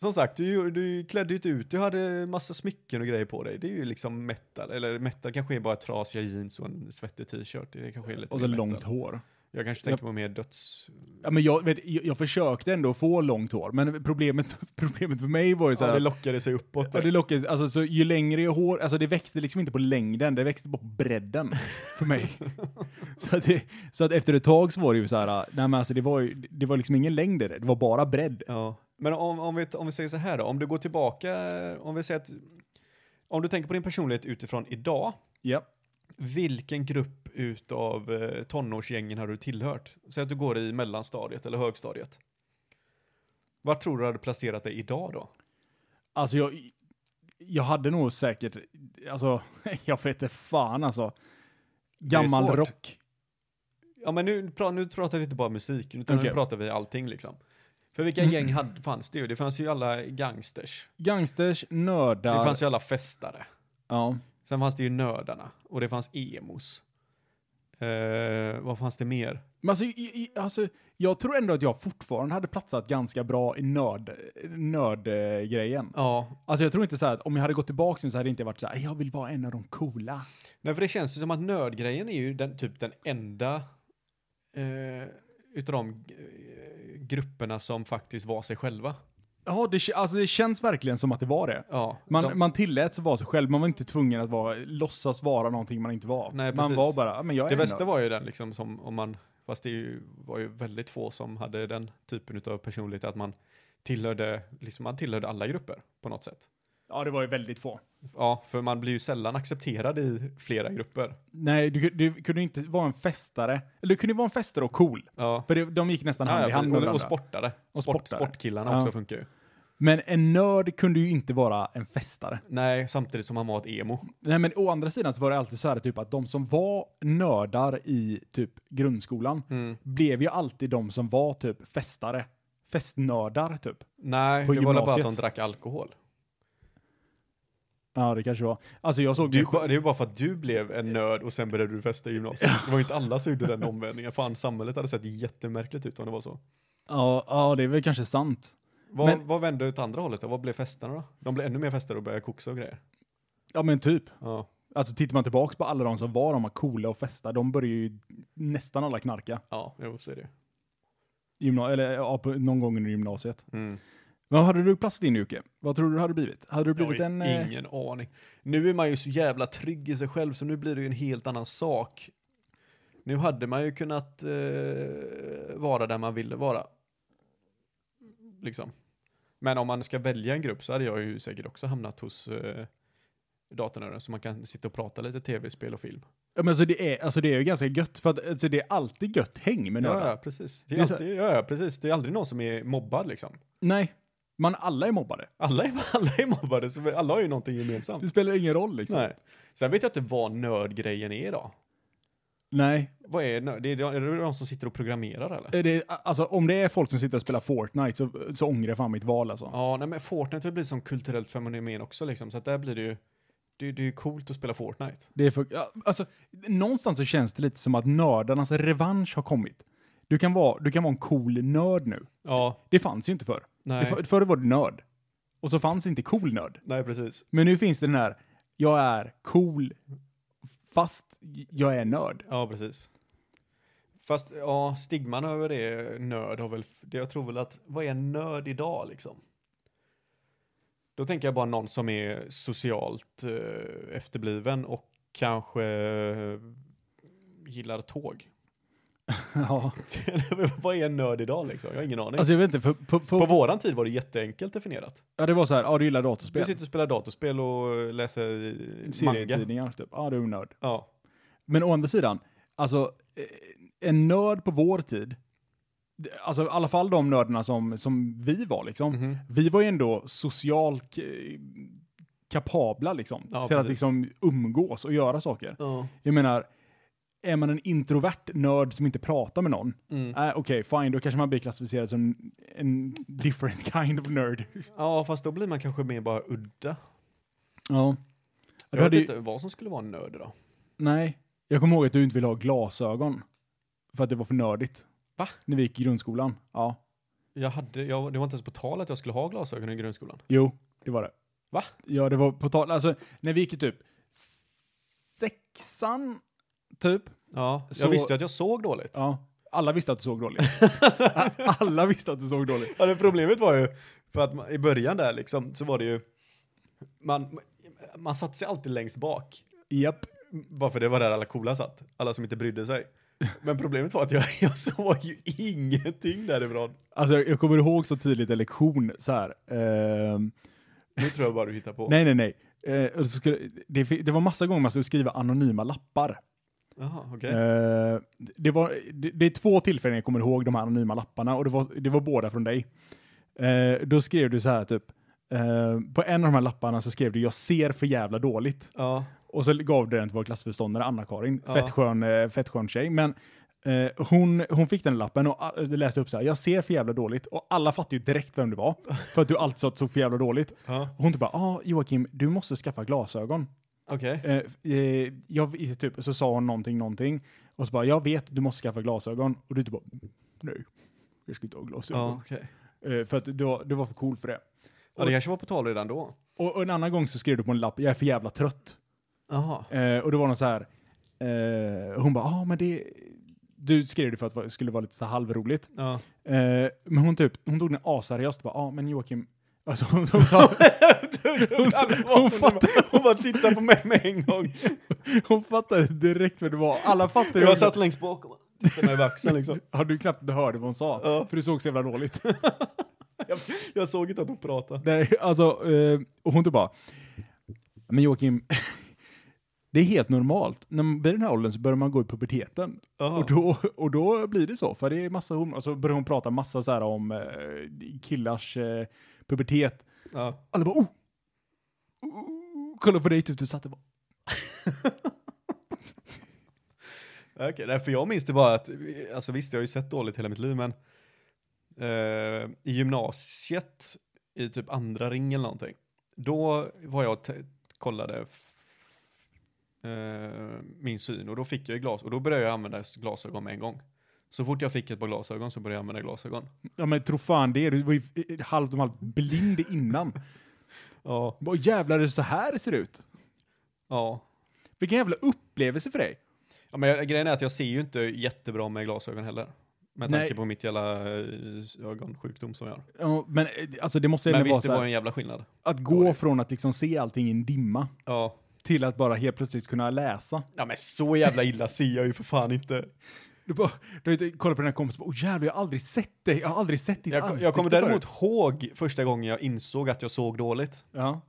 Speaker 3: Som sagt, du, du klädde ju inte ut, du hade massa smycken och grejer på dig. Det är ju liksom metal, eller metal kanske är bara trasiga jeans och en svettig t-shirt. Det kanske är lite
Speaker 4: Och så
Speaker 3: mer metal.
Speaker 4: långt hår.
Speaker 3: Jag kanske tänker på mer döds...
Speaker 4: Ja, men jag, vet, jag, jag försökte ändå få långt hår, men problemet, problemet för mig var ju så
Speaker 3: Ja,
Speaker 4: här...
Speaker 3: det lockade sig uppåt.
Speaker 4: Ja, det lockades, alltså, så ju längre jag hår, alltså det växte liksom inte på längden, det växte bara på bredden för mig. så, att det, så att efter ett tag så var det ju så här, nej men alltså det var ju, det var liksom ingen längd i det, det var bara bredd.
Speaker 3: Ja. Men om, om, vi, om vi säger så här då, om du går tillbaka, om vi säger att, om du tänker på din personlighet utifrån idag,
Speaker 4: Ja.
Speaker 3: vilken grupp utav eh, tonårsgängen har du tillhört? Säg att du går i mellanstadiet eller högstadiet. Var tror du hade placerat dig idag då?
Speaker 4: Alltså jag, jag hade nog säkert, alltså jag vet inte fan alltså.
Speaker 3: är
Speaker 4: Gammal
Speaker 3: svårt.
Speaker 4: rock.
Speaker 3: Ja men nu, pra- nu pratar vi inte bara musik, utan
Speaker 4: Okej.
Speaker 3: nu pratar vi allting liksom. För vilka gäng hade, fanns det ju? Det fanns ju alla gangsters.
Speaker 4: Gangsters, nördar.
Speaker 3: Det fanns ju alla festare.
Speaker 4: ja.
Speaker 3: Sen fanns det ju nördarna. Och det fanns emos. Eh, vad fanns det mer?
Speaker 4: Men alltså, i- i- alltså, jag tror ändå att jag fortfarande hade platsat ganska bra i nörd, nördgrejen.
Speaker 3: Ja,
Speaker 4: Alltså jag tror inte så här att om jag hade gått tillbaka nu så hade det inte varit så här, jag vill vara en av de coola.
Speaker 3: Nej, för det känns ju som att nördgrejen är ju den, typ den enda eh, utav de eh, grupperna som faktiskt var sig själva.
Speaker 4: Ja, det, k- alltså det känns verkligen som att det var det.
Speaker 3: Ja,
Speaker 4: Man,
Speaker 3: de,
Speaker 4: man tilläts vara sig själv, man var inte tvungen att vara, låtsas vara någonting man inte var.
Speaker 3: Nej,
Speaker 4: man
Speaker 3: precis.
Speaker 4: var bara, "Ja, men jag är
Speaker 3: det
Speaker 4: en
Speaker 3: bästa
Speaker 4: nörd."
Speaker 3: var ju den liksom som om man, fast det ju, var ju väldigt få som hade den typen av personlighet att man tillhörde, liksom man tillhörde alla grupper på något sätt.
Speaker 4: Ja, det var ju väldigt få.
Speaker 3: Ja, för man blir ju sällan accepterad i flera grupper.
Speaker 4: Nej, du, du kunde inte vara en festare. Eller du kunde vara en festare och cool.
Speaker 3: Ja.
Speaker 4: För det, de gick nästan hand i hand med
Speaker 3: och, och
Speaker 4: varandra.
Speaker 3: sportare.
Speaker 4: Och
Speaker 3: Sport,
Speaker 4: sportare.
Speaker 3: sportkillarna
Speaker 4: Ja.
Speaker 3: också funkar ju.
Speaker 4: Men en nörd kunde ju inte vara en festare.
Speaker 3: Nej, samtidigt som han var ett emo.
Speaker 4: Nej, men å andra sidan så var det alltid så här typ att de som var nördar i typ grundskolan
Speaker 3: Mm.
Speaker 4: blev ju alltid de som var typ festare. Festnördar typ.
Speaker 3: Nej,
Speaker 4: På
Speaker 3: det var väl bara att
Speaker 4: gymnasiet.
Speaker 3: de drack alkohol.
Speaker 4: Ja, det kanske var. Alltså jag såg
Speaker 3: Du,
Speaker 4: det
Speaker 3: ba- det är ju bara för att du blev en nörd och sen började du festa i gymnasiet. Det var ju inte alla som gjorde den omvändningen. Fan, samhället hade sett jättemärkligt ut om det var så.
Speaker 4: Ja, ja, det är väl kanske sant.
Speaker 3: Vad,
Speaker 4: Men-
Speaker 3: vad vände åt andra hållet då? Vad blev festerna då? De blev ännu mer fester och började koksa och grejer.
Speaker 4: Ja, men typ.
Speaker 3: Ja,
Speaker 4: Alltså tittar man tillbaka på alla de som var de här coola och festa, de började ju nästan alla knarka.
Speaker 3: ja jo, så är det
Speaker 4: Gymna- eller ja, på, någon gång under gymnasiet.
Speaker 3: mm.
Speaker 4: Men hade du plats i din Jocke? Vad tror du det hade blivit? Hade du
Speaker 3: Jag
Speaker 4: blivit
Speaker 3: har
Speaker 4: en... eh,
Speaker 3: ingen aning. Nu är man ju så jävla trygg i sig själv så nu blir det ju en helt annan sak. Nu hade man ju kunnat eh, vara där man ville vara. Liksom. Men om man ska välja en grupp så hade jag ju säkert också hamnat hos eh, datornörden så man kan sitta och prata lite tv-spel och film.
Speaker 4: Ja, men alltså det, är, alltså det är ju ganska gött, för att, alltså det är alltid gött häng med nördar.
Speaker 3: Ja, ja, precis. Det är
Speaker 4: Det är så-
Speaker 3: alltid, ja, ja, precis. Det är aldrig någon som är mobbad liksom.
Speaker 4: Nej, man alla är mobbade.
Speaker 3: Alla är, alla är mobbade, så alla har ju någonting gemensamt.
Speaker 4: Det spelar ingen roll liksom.
Speaker 3: Nej. Sen vet jag inte vad nördgrejen är då.
Speaker 4: Nej,
Speaker 3: Vad är nörd? Det är, är det de som sitter och programmerar eller?
Speaker 4: är det, alltså om det är folk som sitter och spelar Fortnite så, så ångrar jag fan mitt val alltså.
Speaker 3: Ja, nej men Fortnite har blivit som kulturellt fenomen också liksom, så att där blir det ju, det, det är ju coolt att spela Fortnite.
Speaker 4: Det är för, ja, alltså, någonstans så känns det lite som att nördarnas revansch har kommit. Du kan vara, du kan vara en cool nörd nu.
Speaker 3: Ja,
Speaker 4: Det fanns ju inte förr.
Speaker 3: nej.
Speaker 4: Det, för, förr var du nörd. Och så fanns inte cool nörd.
Speaker 3: Nej, precis.
Speaker 4: Men nu finns det den här, jag är cool fast jag är nörd.
Speaker 3: Ja, precis. Fast, ja, stigman över det nörd har väl, det jag tror väl att, vad är en nörd idag liksom? Då tänker jag bara någon som är socialt eh, efterbliven och kanske eh, gillar tåg.
Speaker 4: Ja.
Speaker 3: Eller vad är en nörd idag liksom? Jag har ingen aning.
Speaker 4: Alltså jag vet inte, för, på, på,
Speaker 3: på våran tid var det jätteenkelt definierat.
Speaker 4: ja, det var så här, ja du gillar
Speaker 3: Du
Speaker 4: datorspel.
Speaker 3: sitter och spelar datorspel och läser eh, manga.
Speaker 4: Serietidningar, typ. Ja, du är en nörd.
Speaker 3: Ja,
Speaker 4: Men å andra sidan, alltså eh, en nörd på vår tid, det- alltså i alla fall de nörderna som, som vi var liksom,
Speaker 3: Mhm.
Speaker 4: vi var ju ändå socialt eh, kapabla liksom,
Speaker 3: Ja,
Speaker 4: till att
Speaker 3: precis.
Speaker 4: liksom umgås och göra saker.
Speaker 3: ja.
Speaker 4: Jag menar, är man en introvert nörd som inte pratar med någon,
Speaker 3: Mm.
Speaker 4: äh, okej, fine, då kanske man blir klassificerad som en different kind of nerd.
Speaker 3: ja, fast då blir man kanske mer bara udda.
Speaker 4: Ja. Du
Speaker 3: Jag vet
Speaker 4: hade ju,
Speaker 3: inte vad som skulle vara en nörd då.
Speaker 4: nej, jag kommer ihåg att du inte ville ha glasögon, för att det var för nördigt.
Speaker 3: Va?
Speaker 4: När vi gick i grundskolan. Ja.
Speaker 3: Jag hade, jag, det var inte ens på tal att jag skulle ha glasögon i grundskolan.
Speaker 4: Jo, det var det.
Speaker 3: Va?
Speaker 4: Ja, det var på tal. Alltså, när vi gick i typ sexan, typ.
Speaker 3: Ja,
Speaker 4: Så-
Speaker 3: jag visste ju att jag såg dåligt. Ja.
Speaker 4: Ja. Alla visste att du såg dåligt. Alla visste att du såg dåligt.
Speaker 3: det problemet var ju, för att man, i början där liksom, så var det ju, man, man satte sig alltid längst bak.
Speaker 4: Japp.
Speaker 3: Bara för det var där alla coola satt, alla som inte brydde sig. Men problemet var att jag, jag såg ju ingenting därifrån.
Speaker 4: Alltså, jag, jag kommer ihåg så tydligt en lektion så här. ehm,
Speaker 3: Det tror jag bara du hittar på.
Speaker 4: nej, nej, nej. Eh, och så skulle, det, fi- det var massa gånger man skulle skriva anonyma lappar.
Speaker 3: Jaha, okej.
Speaker 4: Eh, det, var, det, det är två tillfällen jag kommer ihåg de här anonyma lapparna och det var, det var båda från dig. Eh, då skrev du så här typ, eh, på en av de här lapparna så skrev du jag ser för jävla dåligt.
Speaker 3: Ja,
Speaker 4: Och så gav du den till vår klassföreståndare Anna-Karin,
Speaker 3: Ja.
Speaker 4: fett, skön, eh, fett skön tjej. Men eh, hon, hon fick den lappen och eh, läste upp så här, jag ser för jävla dåligt. Och alla fattade ju direkt vem du var, för att du alltid sa att du såg för jävla dåligt.
Speaker 3: ja.
Speaker 4: Och hon typ bara, ah, Joakim, du måste skaffa glasögon.
Speaker 3: okej.
Speaker 4: Eh, f- eh, jag, i- typ, så sa hon någonting, någonting. Och så bara, jag vet, du måste skaffa glasögon. Och du typ bara, nej, jag ska inte ha
Speaker 3: Ja,
Speaker 4: glasögon.
Speaker 3: okej.
Speaker 4: Eh, för att du, var- du var för cool för det.
Speaker 3: ja, det kanske var på tal redan då.
Speaker 4: Och, och en annan gång så skrev du på en lapp, jag är för jävla trött.
Speaker 3: Jaha.
Speaker 4: Eh, och det var någon så här, eh, hon bara, ja ah, men det, du skrev det för att det skulle vara lite så här halvroligt.
Speaker 3: Ja.
Speaker 4: Eh, men hon, typ, hon tog den aseriöst. Bara, ja, men Joakim... Alltså, hon, hon, sa, hon, hon, fattade,
Speaker 3: Hon bara tittade på mig med en gång.
Speaker 4: hon fattade direkt vad det var. Alla fattade. ju.
Speaker 3: Jag satt längst bak och bara tittade mig över axeln liksom.
Speaker 4: Ja, du knappt hörde vad hon sa,
Speaker 3: Ja.
Speaker 4: för du såg så jävla dåligt.
Speaker 3: Jag, jag såg inte att hon pratade.
Speaker 4: Nej, alltså, eh, och hon typ bara, men Joakim, det är helt normalt. När man blir den här åldern så börjar man gå i puberteten.
Speaker 3: Jaha.
Speaker 4: Och då, och då blir det så, för det är massa hormoner. Och så börjar hon prata massa så här om eh, killars eh, pubertet.
Speaker 3: Ja.
Speaker 4: Alla bara, oh! oh! Kolla på dig, typ, du satt och bara,
Speaker 3: Okej, nej, för jag minns det bara att, alltså visst jag har ju sett dåligt hela mitt liv men eh, i gymnasiet, i typ andra ring eller någonting, då var jag t- kollade f- eh, min syn och då fick jag ju glas och då började jag använda s- glasögon med en gång. Så fort jag fick ett par glasögon så började jag använda glasögon.
Speaker 4: ja men tro fan det, du var ju eh, halvt om halvt blind innan.
Speaker 3: Ja,
Speaker 4: Bara, jävlar, det är så här det ser ut.
Speaker 3: ja.
Speaker 4: Vilken jävla upplevelse för dig.
Speaker 3: ja men jag, grejen är att jag ser ju inte jättebra med glasögon heller. Med tanke
Speaker 4: Nej.
Speaker 3: på mitt jävla eh, ögonsjukdom som jag har.
Speaker 4: Ja, men eh, alltså det måste
Speaker 3: Men
Speaker 4: ändå vara
Speaker 3: visst,
Speaker 4: så
Speaker 3: det
Speaker 4: här,
Speaker 3: var en jävla skillnad.
Speaker 4: att
Speaker 3: var
Speaker 4: gå
Speaker 3: det.
Speaker 4: från att liksom se allting i en dimma
Speaker 3: Ja.
Speaker 4: till att bara helt plötsligt kunna läsa.
Speaker 3: Ja men så jävla illa ser jag ju för fan inte.
Speaker 4: Du bara, du vet, kollar på den här kompisen och bara, oh, jävlar, jag har aldrig sett dig, jag har aldrig sett ditt
Speaker 3: Jag,
Speaker 4: ansikte
Speaker 3: jag kommer däremot
Speaker 4: förut."
Speaker 3: ihåg första gången jag insåg att jag såg dåligt.
Speaker 4: Ja.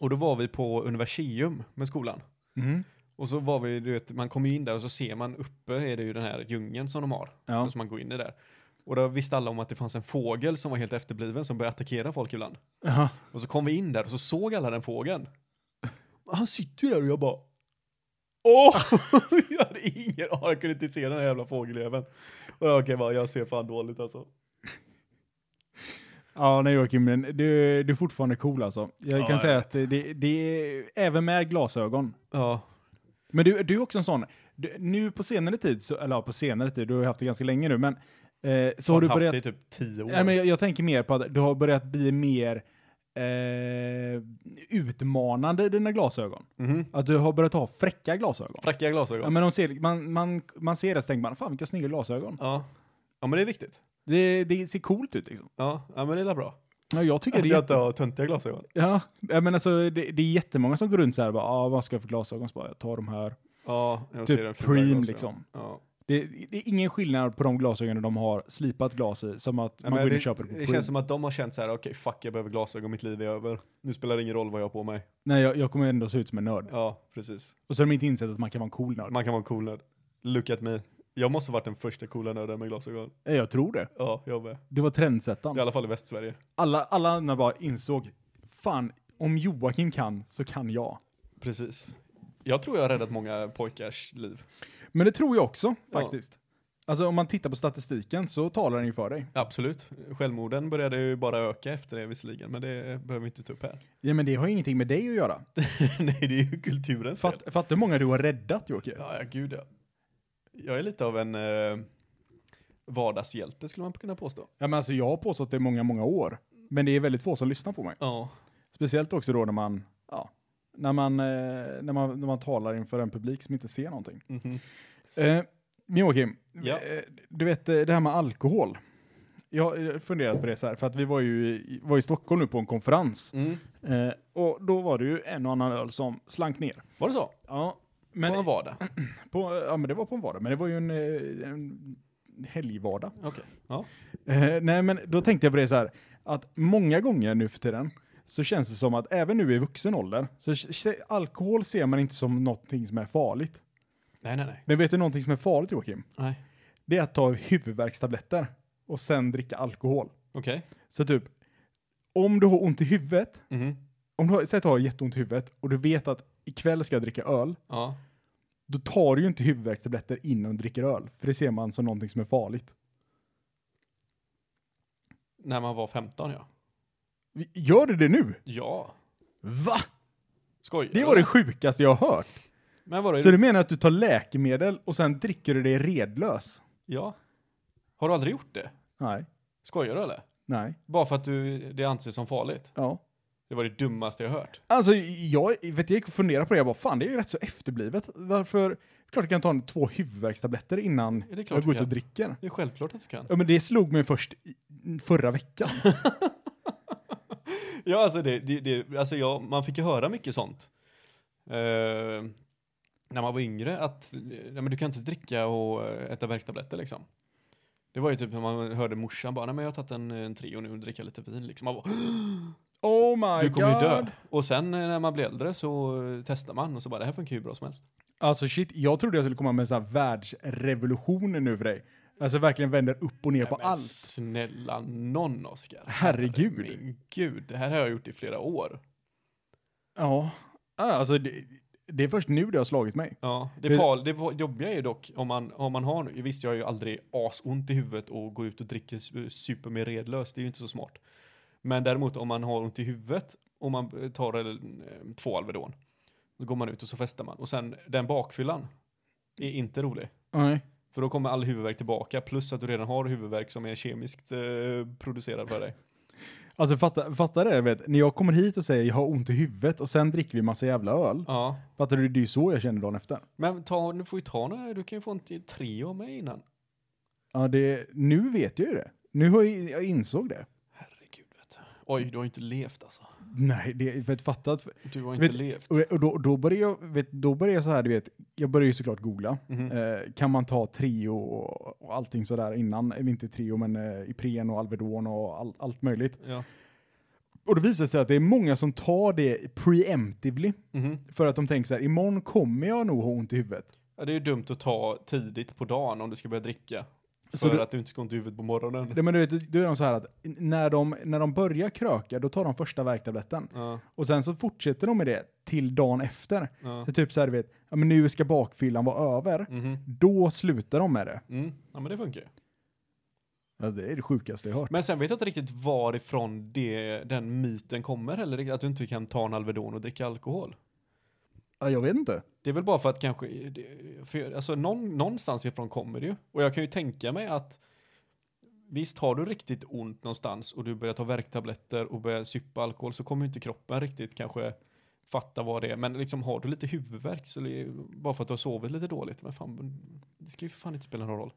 Speaker 3: Och då var vi på universium med skolan.
Speaker 4: Mm.
Speaker 3: Och så var vi, du vet, man kommer ju in där och så ser man uppe är det ju den här djungeln som de har.
Speaker 4: Ja.
Speaker 3: Och så man går in i där. Och då visste alla om att det fanns en fågel som var helt efterbliven som började attackera folk ibland.
Speaker 4: Ja.
Speaker 3: Och så kom vi in där och så såg alla den fågeln. Han sitter ju där och jag bara... Åh! jag hade ingen aning, jag kunde inte se den här jävla fågeljäveln. Och jag, okej, bara, jag ser fan dåligt alltså.
Speaker 4: ja, nej Joakim, men du, du är fortfarande cool alltså. Jag
Speaker 3: Ja,
Speaker 4: kan
Speaker 3: jag
Speaker 4: säga
Speaker 3: vet.
Speaker 4: att det, det är, även med glasögon.
Speaker 3: Ja.
Speaker 4: Men du, du är också en sån, du, nu på senare tid, så, eller ja, på senare tid, du har ju haft det ganska länge nu, men eh, så har du
Speaker 3: haft
Speaker 4: börjat...
Speaker 3: det i typ tio år.
Speaker 4: Nej, men jag, jag tänker mer på att du har börjat bli mer eh, utmanande i dina glasögon.
Speaker 3: Mhm.
Speaker 4: Att du har börjat ha fräcka glasögon.
Speaker 3: Fräckiga
Speaker 4: Ja,
Speaker 3: glasögon.
Speaker 4: men de ser, man, man, man ser det så tänker man, fan vilka snygga glasögon.
Speaker 3: Ja. ja, men det är viktigt.
Speaker 4: Det, det ser coolt ut liksom.
Speaker 3: Ja, ja men det är väl bra.
Speaker 4: Ja, jag tycker
Speaker 3: Att
Speaker 4: det är
Speaker 3: jag inte
Speaker 4: jätte...
Speaker 3: har töntiga glasögon.
Speaker 4: Ja, ja, men alltså det, det är jättemånga som går runt så här, bara, ah, vad ska jag för glasögon? Så bara, jag tar de här.
Speaker 3: Ja, jag ser den
Speaker 4: typ
Speaker 3: fula
Speaker 4: Preem
Speaker 3: glasögon.
Speaker 4: liksom.
Speaker 3: Ja.
Speaker 4: Det, det är ingen skillnad på de glasögonen de har slipat glas i, som att
Speaker 3: Ja,
Speaker 4: man
Speaker 3: men
Speaker 4: går in och
Speaker 3: det,
Speaker 4: köper på
Speaker 3: det
Speaker 4: Preem.
Speaker 3: känns som att de har känt så här, okej fuck jag behöver glasögon, mitt liv är över. Nu spelar det ingen roll vad jag har på mig.
Speaker 4: Nej, jag, jag kommer ändå se ut som en nörd.
Speaker 3: Ja, precis.
Speaker 4: Och så har de inte insett att man kan vara en cool nörd.
Speaker 3: Man kan vara en cool nörd. Look at me. Jag måste ha varit den första coola nörden med glasögon.
Speaker 4: Ja, Jag tror det.
Speaker 3: Ja, jag med.
Speaker 4: Det var trendsättaren.
Speaker 3: I alla fall i Västsverige.
Speaker 4: Alla, alla andra bara insåg, fan, om Joakim kan så kan jag.
Speaker 3: Precis. Jag tror jag har räddat många pojkars liv.
Speaker 4: Men det tror jag också
Speaker 3: Ja.
Speaker 4: faktiskt. Alltså om man tittar på statistiken så talar den ju för dig.
Speaker 3: Absolut. Självmorden började ju bara öka efter det visserligen, men det behöver vi inte ta upp här.
Speaker 4: Ja men det har ju ingenting med dig att göra.
Speaker 3: Nej, det är ju kulturens fel.
Speaker 4: Fatt, fattar hur många du har räddat Joakim.
Speaker 3: Ja, ja, gud ja. Jag är lite av en eh, vardagshjälte skulle man kunna påstå.
Speaker 4: Ja men alltså jag har påstått det i många, många år. Men det är väldigt få som lyssnar på mig.
Speaker 3: Ja.
Speaker 4: Speciellt också då när man, ja, när man, eh, när man, när man talar inför en publik som inte ser någonting.
Speaker 3: Mhm.
Speaker 4: Eh, men Joakim,
Speaker 3: Ja.
Speaker 4: eh, du vet eh, det här med alkohol. Jag har eh, funderat på det så här, för att vi var ju i, var i Stockholm nu på en konferens.
Speaker 3: Mm.
Speaker 4: Eh, och då var det ju en och annan öl som slank ner.
Speaker 3: Var det så?
Speaker 4: Ja,
Speaker 3: Men,
Speaker 4: men,
Speaker 3: på en vardag?
Speaker 4: på, ja, men det var på en vardag, men det var ju en, eh, en helgvardag.
Speaker 3: Okej. Ja.
Speaker 4: Eh, nej, men då tänkte jag på det så här, att många gånger nu för tiden så känns det som att även nu i vuxen ålder, så se- alkohol ser man inte som någonting som är farligt.
Speaker 3: Nej, nej, nej.
Speaker 4: Men vet du någonting som är farligt Joakim?
Speaker 3: nej.
Speaker 4: Det är att ta huvudvärkstabletter och sen dricka alkohol.
Speaker 3: Okej.
Speaker 4: Så typ, om du har ont i huvudet,
Speaker 3: Mhm.
Speaker 4: om du har, säg att du har jätteont i huvudet och du vet att ikväll ska jag dricka öl,
Speaker 3: Ja.
Speaker 4: då tar du ju inte huvudvärkstabletter innan du dricker öl, för det ser man som någonting som är farligt.
Speaker 3: När man var 15, ja.
Speaker 4: Gör du det nu?
Speaker 3: Ja.
Speaker 4: Va?
Speaker 3: Skoj.
Speaker 4: Det var det sjukaste jag har hört.
Speaker 3: Men vadå? är
Speaker 4: Så
Speaker 3: det...
Speaker 4: du menar att du tar läkemedel och sen dricker du det redlös?
Speaker 3: Ja. Har du aldrig gjort det?
Speaker 4: Nej,
Speaker 3: Skojar du eller?
Speaker 4: nej,
Speaker 3: Bara för att du, det anses som farligt?
Speaker 4: ja.
Speaker 3: Det var det dummaste jag hört.
Speaker 4: Alltså jag, vet, jag gick och funderade på det, jag bara fan det är ju rätt så efterblivet. Varför, Klart jag kan ta en, två huvudvärkstabletter innan
Speaker 3: Ja, det är klart
Speaker 4: jag går
Speaker 3: du
Speaker 4: ut och
Speaker 3: kan.
Speaker 4: dricker.
Speaker 3: Det är självklart att du kan.
Speaker 4: Ja, men det slog mig först i- förra veckan.
Speaker 3: Ja, alltså, det, det, det, alltså jag, man fick ju höra mycket sånt. Eh, när man var yngre, att nej, men du kan inte dricka och eh, äta värktabletter liksom. Det var ju typ när man hörde morsan bara, nej men jag har tagit en, en Treo nu och dricker lite vin liksom. Man bara,
Speaker 4: Oh my
Speaker 3: du kommer ju dö. Och sen eh, när man blir äldre så eh, testar man och så bara, det här funkar ju hur bra som helst.
Speaker 4: Alltså shit, jag trodde jag skulle komma med en sån här världsrevolution nu för dig. Alltså verkligen vänder upp och ner på
Speaker 3: Nej, men
Speaker 4: allt.
Speaker 3: Snälla någon Oskar.
Speaker 4: Herregud.
Speaker 3: Min gud, det här har jag gjort i flera år.
Speaker 4: Ja, Ah, alltså det, det är först nu det har slagit mig.
Speaker 3: Ja, det,
Speaker 4: Det-
Speaker 3: fal, det var- jobbiga är ju dock om man, om man har, visst jag har ju aldrig asont i huvudet och går ut och dricker su- super med redlös, det är ju inte så smart. Men däremot om man har ont i huvudet och man eh, tar en, eh, två Alvedon, då går man ut och så festar man. Och sen den bakfyllan är inte rolig.
Speaker 4: Nej.
Speaker 3: För då kommer all huvudvärk tillbaka, plus att du redan har huvudvärk som är kemiskt eh, producerad för dig.
Speaker 4: Alltså fatta, fatta det, vet. när jag kommer hit och säger jag har ont i huvudet och sen dricker vi massa jävla öl.
Speaker 3: Ja.
Speaker 4: Fattar du, det är ju så jag känner dagen efter.
Speaker 3: Men ta, du får ju ta några, du kan ju få en t- tre av mig innan.
Speaker 4: Ja, det, nu vet jag ju det. Nu har jag, jag insåg det.
Speaker 3: Herregud vet du. Oj, du har inte levt alltså.
Speaker 4: Nej, det, vet, fatta att
Speaker 3: Du har inte
Speaker 4: Vet-
Speaker 3: levt.
Speaker 4: Och, och då, då började jag, vet, då började jag så här, du vet, jag började ju såklart googla.
Speaker 3: Mhm.
Speaker 4: Eh, kan man ta Trio och, och allting sådär innan, eller inte Trio men eh, Ipren och Alvedon och all, allt möjligt.
Speaker 3: Ja.
Speaker 4: Och det visar sig att det är många som tar det preemptively
Speaker 3: Mhm.
Speaker 4: för att de tänker så här, imorgon kommer jag nog ha ont i huvudet.
Speaker 3: Ja, det är ju dumt att ta tidigt på dagen om du ska börja dricka. För
Speaker 4: Så du-
Speaker 3: att du inte ska ont i huvudet på morgonen.
Speaker 4: Nej, men du vet, då är de så här att när de, när de börjar kröka, då tar de första värktabletten.
Speaker 3: Ja,
Speaker 4: Och sen så fortsätter de med det till dagen efter.
Speaker 3: ja.
Speaker 4: Så typ så här, du vet, ja, men nu ska bakfyllan vara över.
Speaker 3: Mhm.
Speaker 4: Då slutar de med det.
Speaker 3: Mm. ja, men det funkar ju.
Speaker 4: Ja, Alltså, det är det sjukaste jag hört.
Speaker 3: Men sen vet jag inte riktigt varifrån det, den myten kommer heller. riktigt, Att du inte kan ta en Alvedon och dricka alkohol.
Speaker 4: Ja, jag vet inte.
Speaker 3: Det är väl bara för att kanske, det- för, alltså någon, någonstans ifrån kommer det ju. Och jag kan ju tänka mig att visst har du riktigt ont någonstans och du börjar ta värktabletter och börjar suppa alkohol så kommer ju inte kroppen riktigt kanske fatta vad det är. Men liksom har du lite huvudvärk så det är ju bara för att du har sovit lite dåligt. Men fan, det ska ju för fan inte spela någon roll.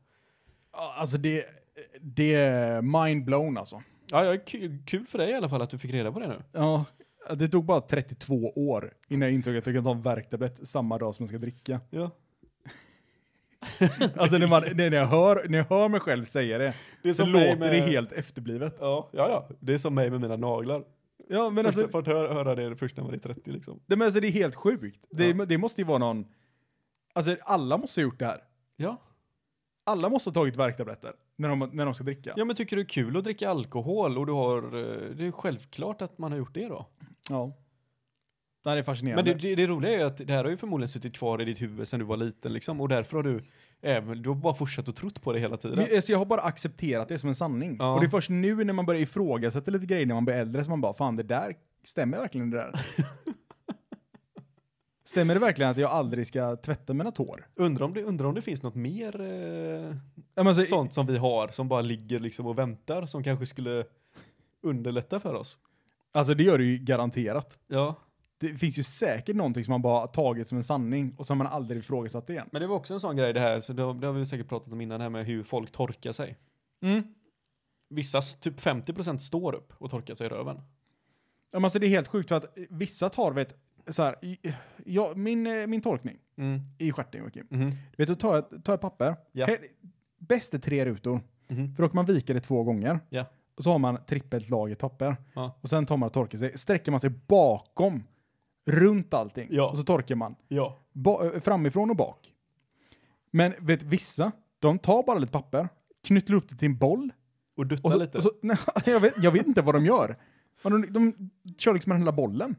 Speaker 4: Ja, Alltså det, det är mind blown alltså.
Speaker 3: Ja, jag är kul, kul för dig i alla fall att du fick reda på det nu.
Speaker 4: Ja, det tog bara 32 år innan jag insåg att jag kan ta en värktablett samma dag som jag ska dricka.
Speaker 3: Ja.
Speaker 4: Alltså när, man, när, jag, hör, när jag hör mig själv säga det,
Speaker 3: Det är
Speaker 4: så låter det helt efterblivet.
Speaker 3: Ja, ja, ja. Det är som mig med mina naglar.
Speaker 4: Ja, men
Speaker 3: Men
Speaker 4: alltså,
Speaker 3: Först, hör, höra det först när man är 30 liksom.
Speaker 4: det, men alltså det är helt sjukt. Det,
Speaker 3: Ja.
Speaker 4: det måste ju vara någon... Alltså alla måste ha gjort det här.
Speaker 3: Ja.
Speaker 4: Alla måste ha tagit värktabletter när de, när de ska dricka.
Speaker 3: Ja men tycker du det är kul att dricka alkohol och du har, eh, det är självklart att man har gjort det då.
Speaker 4: Ja. Det här är fascinerande.
Speaker 3: Men det, det, det roliga är ju att det här har ju förmodligen suttit kvar i ditt huvud sedan du var liten liksom och därför har du även, du har bara fortsatt och trott på det hela tiden.
Speaker 4: Men, alltså, jag har bara accepterat det som en sanning.
Speaker 3: Ja.
Speaker 4: Och det är först nu när man börjar ifrågasätta lite grejer när man blir äldre som man bara, fan det där, stämmer verkligen det där? stämmer det verkligen att jag aldrig ska tvätta mina tår?
Speaker 3: Undrar om det, undrar om det finns något mer eh,
Speaker 4: Ja, men alltså,
Speaker 3: sånt som vi har som bara ligger liksom och väntar som kanske skulle underlätta för oss.
Speaker 4: alltså det gör det ju garanterat.
Speaker 3: Ja.
Speaker 4: Det finns ju säkert någonting som man bara har tagit som en sanning och som man aldrig ifrågasatt igen.
Speaker 3: Men det var också en sån grej det här, så det har, det har vi säkert pratat om innan, det här med hur folk torkar sig. Mm. Vissa, s- typ 50% står upp och torkar sig i röven.
Speaker 4: Ja, men alltså, det är helt sjukt för att vissa tar, vet, så här, i- ja, min, eh, min tolkning
Speaker 3: Mm.
Speaker 4: i stjärten Joakim.
Speaker 3: Mhm.
Speaker 4: Vet du, ta ett, ta ett papper.
Speaker 3: Ja.
Speaker 4: He- Bäst är tre rutor.
Speaker 3: Mhm.
Speaker 4: För då kan man vika det två gånger.
Speaker 3: Ja.
Speaker 4: Och så har man trippelt lager papper.
Speaker 3: Ja.
Speaker 4: Och sen tar man och torkar sig. Sträcker man sig bakom, runt allting.
Speaker 3: Ja.
Speaker 4: Och så torkar man.
Speaker 3: Ja.
Speaker 4: Ba- eh, framifrån och bak. Men vet vissa, de tar bara lite papper, knyter upp det till en boll.
Speaker 3: Och dutta
Speaker 4: Och så,
Speaker 3: lite.
Speaker 4: Och så, nej, jag, vet, jag vet inte vad de gör. Men De, de kör liksom hela bollen.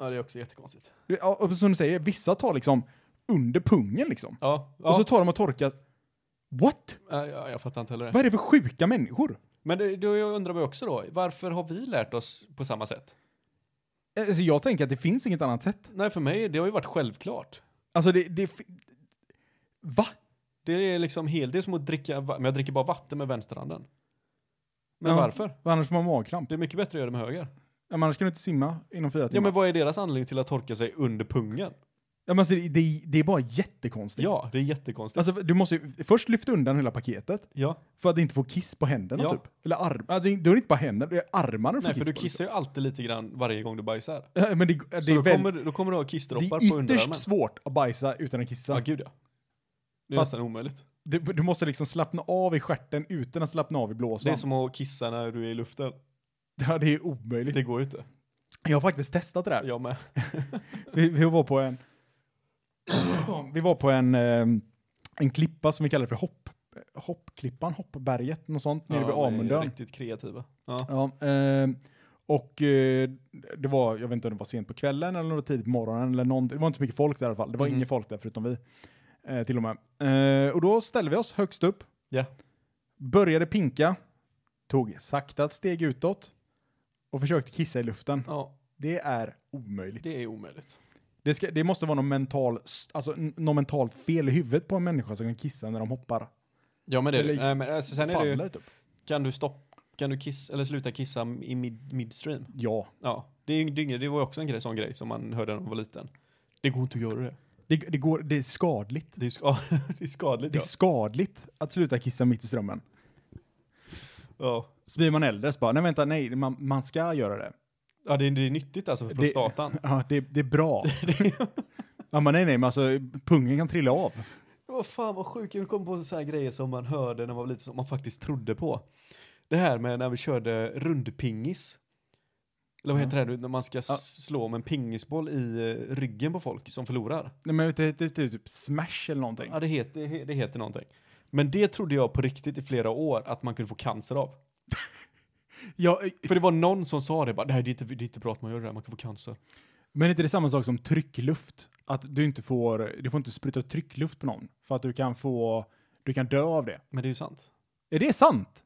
Speaker 3: Ja, det är också jättekonstigt.
Speaker 4: Du- ja, Och som du säger, vissa tar liksom under pungen liksom.
Speaker 3: Ja, ja.
Speaker 4: Och så tar de och torkar. What?
Speaker 3: ja, ja, jag fattar inte heller det.
Speaker 4: Vad är det för sjuka människor?
Speaker 3: Men det, då jag undrar man ju också då, varför har vi lärt oss på samma sätt?
Speaker 4: Alltså jag tänker att det finns inget annat sätt.
Speaker 3: Nej, för mig, det har ju varit självklart.
Speaker 4: Alltså det... det fi- va?
Speaker 3: Det är liksom helt, det är som att dricka, va- men jag dricker bara vatten med vänsterhanden. Men
Speaker 4: Ja.
Speaker 3: varför?
Speaker 4: Annars får man magkramp.
Speaker 3: Det är mycket bättre att göra det med höger. Mm.
Speaker 4: Ja, men Annars kan du inte simma inom fyra timmar.
Speaker 3: Ja, men vad är deras anledning till att torka sig under pungen?
Speaker 4: Ja, men alltså, det, det, det är bara jättekonstigt.
Speaker 3: Ja, det är jättekonstigt.
Speaker 4: Alltså, du måste ju först lyfta undan hela paketet
Speaker 3: ja.
Speaker 4: för att inte få kiss på händerna
Speaker 3: Ja.
Speaker 4: typ. Eller arm, alltså, du har inte bara händerna, det är armarna
Speaker 3: Nej,
Speaker 4: får
Speaker 3: för du
Speaker 4: på,
Speaker 3: kissar ju alltid lite grann varje gång du bajsar.
Speaker 4: liksom. Ja, men det,
Speaker 3: Så
Speaker 4: det, är
Speaker 3: då,
Speaker 4: väl,
Speaker 3: kommer, du- då kommer du ha
Speaker 4: det
Speaker 3: kissdroppar på
Speaker 4: är ytterst
Speaker 3: underarmen.
Speaker 4: svårt att bajsa utan att kissa.
Speaker 3: Ja, gud ja. Det är
Speaker 4: Fast-
Speaker 3: nästan omöjligt.
Speaker 4: Du, du måste liksom slappna av i stjärten utan att slappna av i
Speaker 3: Det är
Speaker 4: blåsan.
Speaker 3: som att kissa när du är i luften.
Speaker 4: Ja, det är omöjligt.
Speaker 3: Det går ju inte.
Speaker 4: Jag har faktiskt testat det där.
Speaker 3: Jag med.
Speaker 4: Vi, vi var på en... vi var på en, eh, en klippa som vi kallar för hopp, hoppklippan, hoppberget, något sånt, nere vid
Speaker 3: Ja, de är
Speaker 4: Amundön.
Speaker 3: Riktigt kreativa. Ja.
Speaker 4: Ja, eh, och eh, det var, jag vet inte om det var sent på kvällen eller något tidigt på morgonen eller någonting. Det var inte så mycket folk där i alla fall. Det var
Speaker 3: Mhm.
Speaker 4: inget folk där förutom vi. Eh, till och med. Eh, och då ställde vi oss högst upp.
Speaker 3: Ja.
Speaker 4: Började pinka. Tog sakta ett steg utåt. Och försökte kissa i luften.
Speaker 3: ja,
Speaker 4: Det är omöjligt.
Speaker 3: det är omöjligt.
Speaker 4: Det, ska, det måste vara någon mental, s- alltså, n- någon mental fel i huvudet på en människa som kan kissa när de hoppar.
Speaker 3: Ja, men det är det.
Speaker 4: Eller
Speaker 3: Nej, men alltså, sen är det ju,
Speaker 4: typ.
Speaker 3: kan du stoppa, kan du kissa, eller sluta kissa i mid, midstream?
Speaker 4: Ja.
Speaker 3: Ja, det, är, ju- det, är ingen- det var ju också en grej, sån grej som man hörde när man var liten. Det går inte att göra det.
Speaker 4: Det, det, går, det är skadligt.
Speaker 3: Det är, ska, det är skadligt.
Speaker 4: Det är
Speaker 3: Ja.
Speaker 4: skadligt att sluta kissa mitt i strömmen.
Speaker 3: Ja.
Speaker 4: Så blir man äldre så bara, nej vänta, nej, man, man ska göra det.
Speaker 3: ja, det är, det är nyttigt alltså för
Speaker 4: Det-
Speaker 3: prostatan.
Speaker 4: Ja, det, det är bra. ja, men nej, nej, men alltså pungen kan trilla av.
Speaker 3: Vad fan vad sjukt, jag kom på så här grejer som man hörde när man var liten, som man faktiskt trodde på. Det här med när vi körde rundpingis. Eller vad heter det, här, när man ska s- slå med en pingisboll i eh, ryggen på folk som förlorar.
Speaker 4: Nej, men det heter typ, typ smash eller någonting.
Speaker 3: Ja, det heter, det he- det heter någonting. Men det trodde jag på riktigt i flera år att man kunde få cancer av.
Speaker 4: Ja,
Speaker 3: För det var någon som sa det, bara, nej det är inte, det är inte bra att man gör det här, man kan få cancer.
Speaker 4: men är inte det samma sak som tryckluft? Att du inte får, du får inte spruta tryckluft på någon för att du kan få, du kan dö av det.
Speaker 3: Men det är ju sant.
Speaker 4: Är det sant?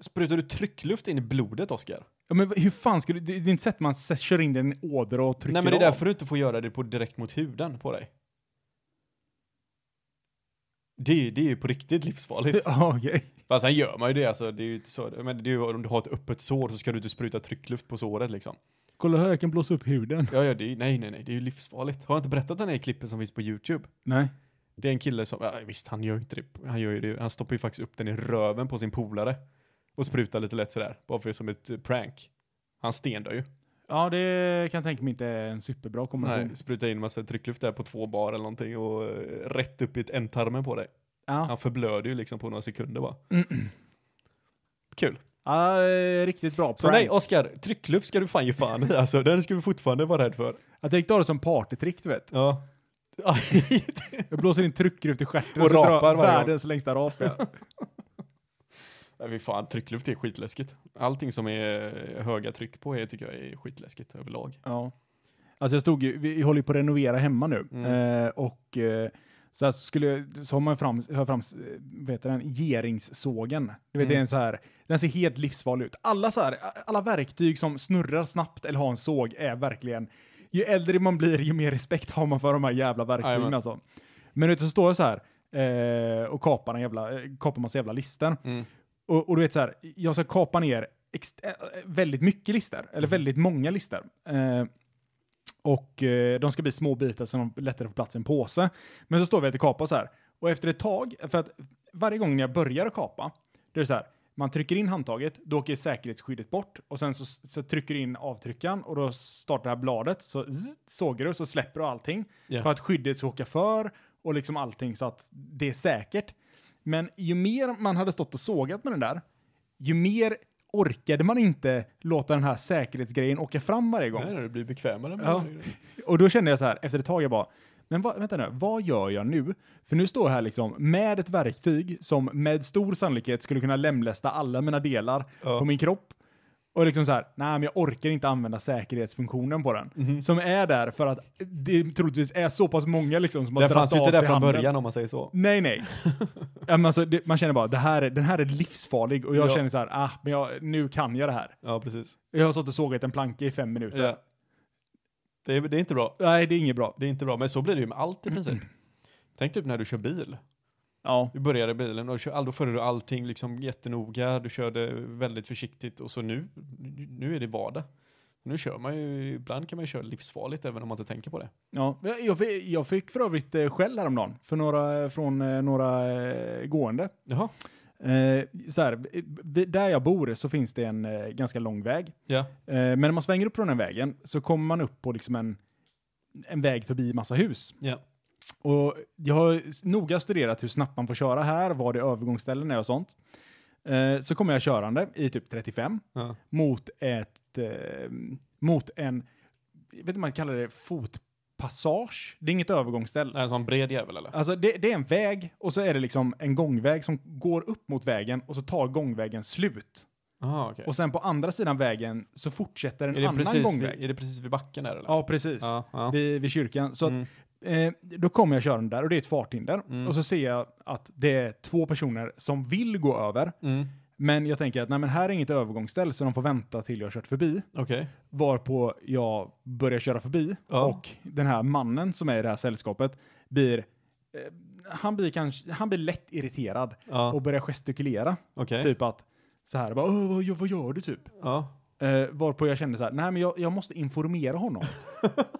Speaker 3: Sprutar du tryckluft in i blodet, Oskar?
Speaker 4: Ja, men hur fan ska du, det det är inte så att man s- kör in den i en åder och trycker
Speaker 3: Nej men det är
Speaker 4: av.
Speaker 3: därför du inte får göra det på, direkt mot huden på dig. Det, är- det är ju på riktigt livsfarligt.
Speaker 4: Ja, okej.
Speaker 3: Fast sen gör man ju det alltså, det är ju inte så, men det är ju, om du har ett öppet sår så ska du inte spruta tryckluft på såret liksom.
Speaker 4: Kolla hur jag kan blåsa upp huden.
Speaker 3: Ja, ja, det är, nej, nej, nej, det är ju livsfarligt. Har jag inte berättat den här klippen som finns på YouTube?
Speaker 4: Nej.
Speaker 3: Det är en kille som, ja, visst han gör ju inte det, han gör ju det, han stoppar ju faktiskt upp den i röven på sin polare. Och sprutar lite lätt sådär, bara för som ett eh, prank. Han stendör ju.
Speaker 4: Ja, det kan jag tänka mig inte är en superbra kombination.
Speaker 3: Nej, spruta in massa tryckluft där på två bar eller någonting och eh, rätt upp i ett ändtarmen på dig.
Speaker 4: Ja.
Speaker 3: Han förblöder ju liksom på några sekunder bara. Kul.
Speaker 4: ja, det är riktigt bra.
Speaker 3: Så
Speaker 4: prank.
Speaker 3: nej, Oskar, tryckluft ska du fan ge fan i. Alltså, den ska du fortfarande vara rädd för.
Speaker 4: Jag tänkte ha det som partytrick, du vet.
Speaker 3: Ja.
Speaker 4: Jag blåser in tryckluft i stjärten
Speaker 3: Och
Speaker 4: och, så
Speaker 3: rapar
Speaker 4: drar
Speaker 3: varje
Speaker 4: världens längsta rap. Ja.
Speaker 3: Nej, fy fan, tryckluft är skitläskigt. Allting som är eh, höga tryck på är, tycker jag är skitläskigt överlag.
Speaker 4: ja. Alltså jag stod ju, vi håller ju på att renovera hemma nu. Eh, och eh, så, här skulle, jag- så har man fram, har fram eh, vet du, den, geringssågen. Du vet, det är en så här, den ser helt livsfarlig ut. Alla, så här, alla verktyg som snurrar snabbt eller har en såg är verkligen, ju äldre man blir ju mer respekt har man för de här jävla verktygen
Speaker 3: Jajamän.
Speaker 4: alltså. Men vet du, så står jag så här eh, och kapar, en jävla, eh, kapar massa jävla lister.
Speaker 3: Mm.
Speaker 4: Och, och du vet så här, jag ska kapa ner ex- eh, väldigt mycket lister, eller väldigt många lister. Eh, och eh, de ska bli små bitar så de lättare får plats i en påse. Men så står vi att kapa så här. Och efter ett tag, för att varje gång när jag börjar att kapa, då är det så här. Man trycker in handtaget, då åker säkerhetsskyddet bort och sen så, så trycker du in avtryckaren och då startar det här bladet. Så zzz, sågar du så släpper du allting
Speaker 3: Ja.
Speaker 4: för att skyddet ska åka för och liksom allting så att det är säkert. Men ju mer man hade stått och sågat med den där, ju mer orkade man inte låta den här säkerhetsgrejen åka fram varje gång.
Speaker 3: Nej, det blir bekvämare med
Speaker 4: Ja. Och då kände jag så här, efter ett tag, jag bara, men vad, vänta nu, vad gör jag nu? För nu står jag här liksom med ett verktyg som med stor sannolikhet skulle kunna lemlästa alla mina delar
Speaker 3: Ja.
Speaker 4: på min kropp. Och liksom så här, nej men jag orkar inte använda säkerhetsfunktionen på den.
Speaker 3: Mhm.
Speaker 4: Som är där för att det troligtvis är så pass många liksom som har
Speaker 3: Den
Speaker 4: dragit
Speaker 3: fanns ju
Speaker 4: av
Speaker 3: inte där
Speaker 4: sig
Speaker 3: från
Speaker 4: handen.
Speaker 3: början om man säger så.
Speaker 4: Nej, nej. ja, men alltså, det, man känner bara, det här, är- den här är livsfarlig och jag
Speaker 3: Ja.
Speaker 4: känner så här, ah, men jag, nu kan jag det här.
Speaker 3: Ja, precis.
Speaker 4: Jag har stått och sågat en planka i fem minuter.
Speaker 3: Ja. Det, är, det är inte bra.
Speaker 4: Nej, det är inget bra.
Speaker 3: Det är inte bra, men så blir det ju med allt i princip. Tänk typ när du kör bil.
Speaker 4: Ja.
Speaker 3: Du började i bilen och du kör, all- då förde du allting liksom jättenoga, du körde väldigt försiktigt och så nu, nu är det vardag. Nu kör man ju, ibland kan man ju köra livsfarligt även om man inte tänker på det.
Speaker 4: Ja, jag, fick- jag fick för övrigt eh, skäll häromdagen för några, från eh, några eh, gående.
Speaker 3: Jaha.
Speaker 4: Eh, så här, eh, vi- där jag bor så finns det en eh, ganska lång väg.
Speaker 3: Ja.
Speaker 4: Eh, men när man svänger upp från den vägen så kommer man upp på liksom en, en väg förbi massa hus.
Speaker 3: Ja.
Speaker 4: Och jag har noga studerat hur snabbt man får köra här, var det övergångsställen är och sånt. Eh, så kommer jag körande i typ 35
Speaker 3: Ja.
Speaker 4: mot ett, eh, mot en, jag vet inte om man kallar det fotpassage. Det är inget övergångsställe.
Speaker 3: En sån bred jävel eller?
Speaker 4: Alltså det, det är en väg och så är det liksom en gångväg som går upp mot vägen och så tar gångvägen slut.
Speaker 3: Jaha, okej.
Speaker 4: Och sen på andra sidan vägen så fortsätter en
Speaker 3: Är, det
Speaker 4: annan
Speaker 3: precis vid-
Speaker 4: gångväg.
Speaker 3: är det precis vid backen där eller?
Speaker 4: Ja, precis.
Speaker 3: Ja, ja.
Speaker 4: Vid, vid kyrkan. Så att,
Speaker 3: Mm.
Speaker 4: eh, då kommer jag körande där och det är ett farthinder.
Speaker 3: Mm.
Speaker 4: Och så ser jag att det är två personer som vill gå över.
Speaker 3: Mm.
Speaker 4: Men jag tänker att nej, men här är inget övergångsställe så de får vänta till jag har kört förbi.
Speaker 3: Okej.
Speaker 4: Varpå jag börjar köra förbi
Speaker 3: Ja.
Speaker 4: och den här mannen som är i det här sällskapet blir, eh, han, blir kanske, han blir lätt irriterad
Speaker 3: Ja.
Speaker 4: och börjar gestikulera.
Speaker 3: Okej.
Speaker 4: Typ att så här, bara, "Åh, vad, gör- vad gör du typ?
Speaker 3: Ja.
Speaker 4: Eh, varpå jag kände så här, nej men jag, jag måste informera honom.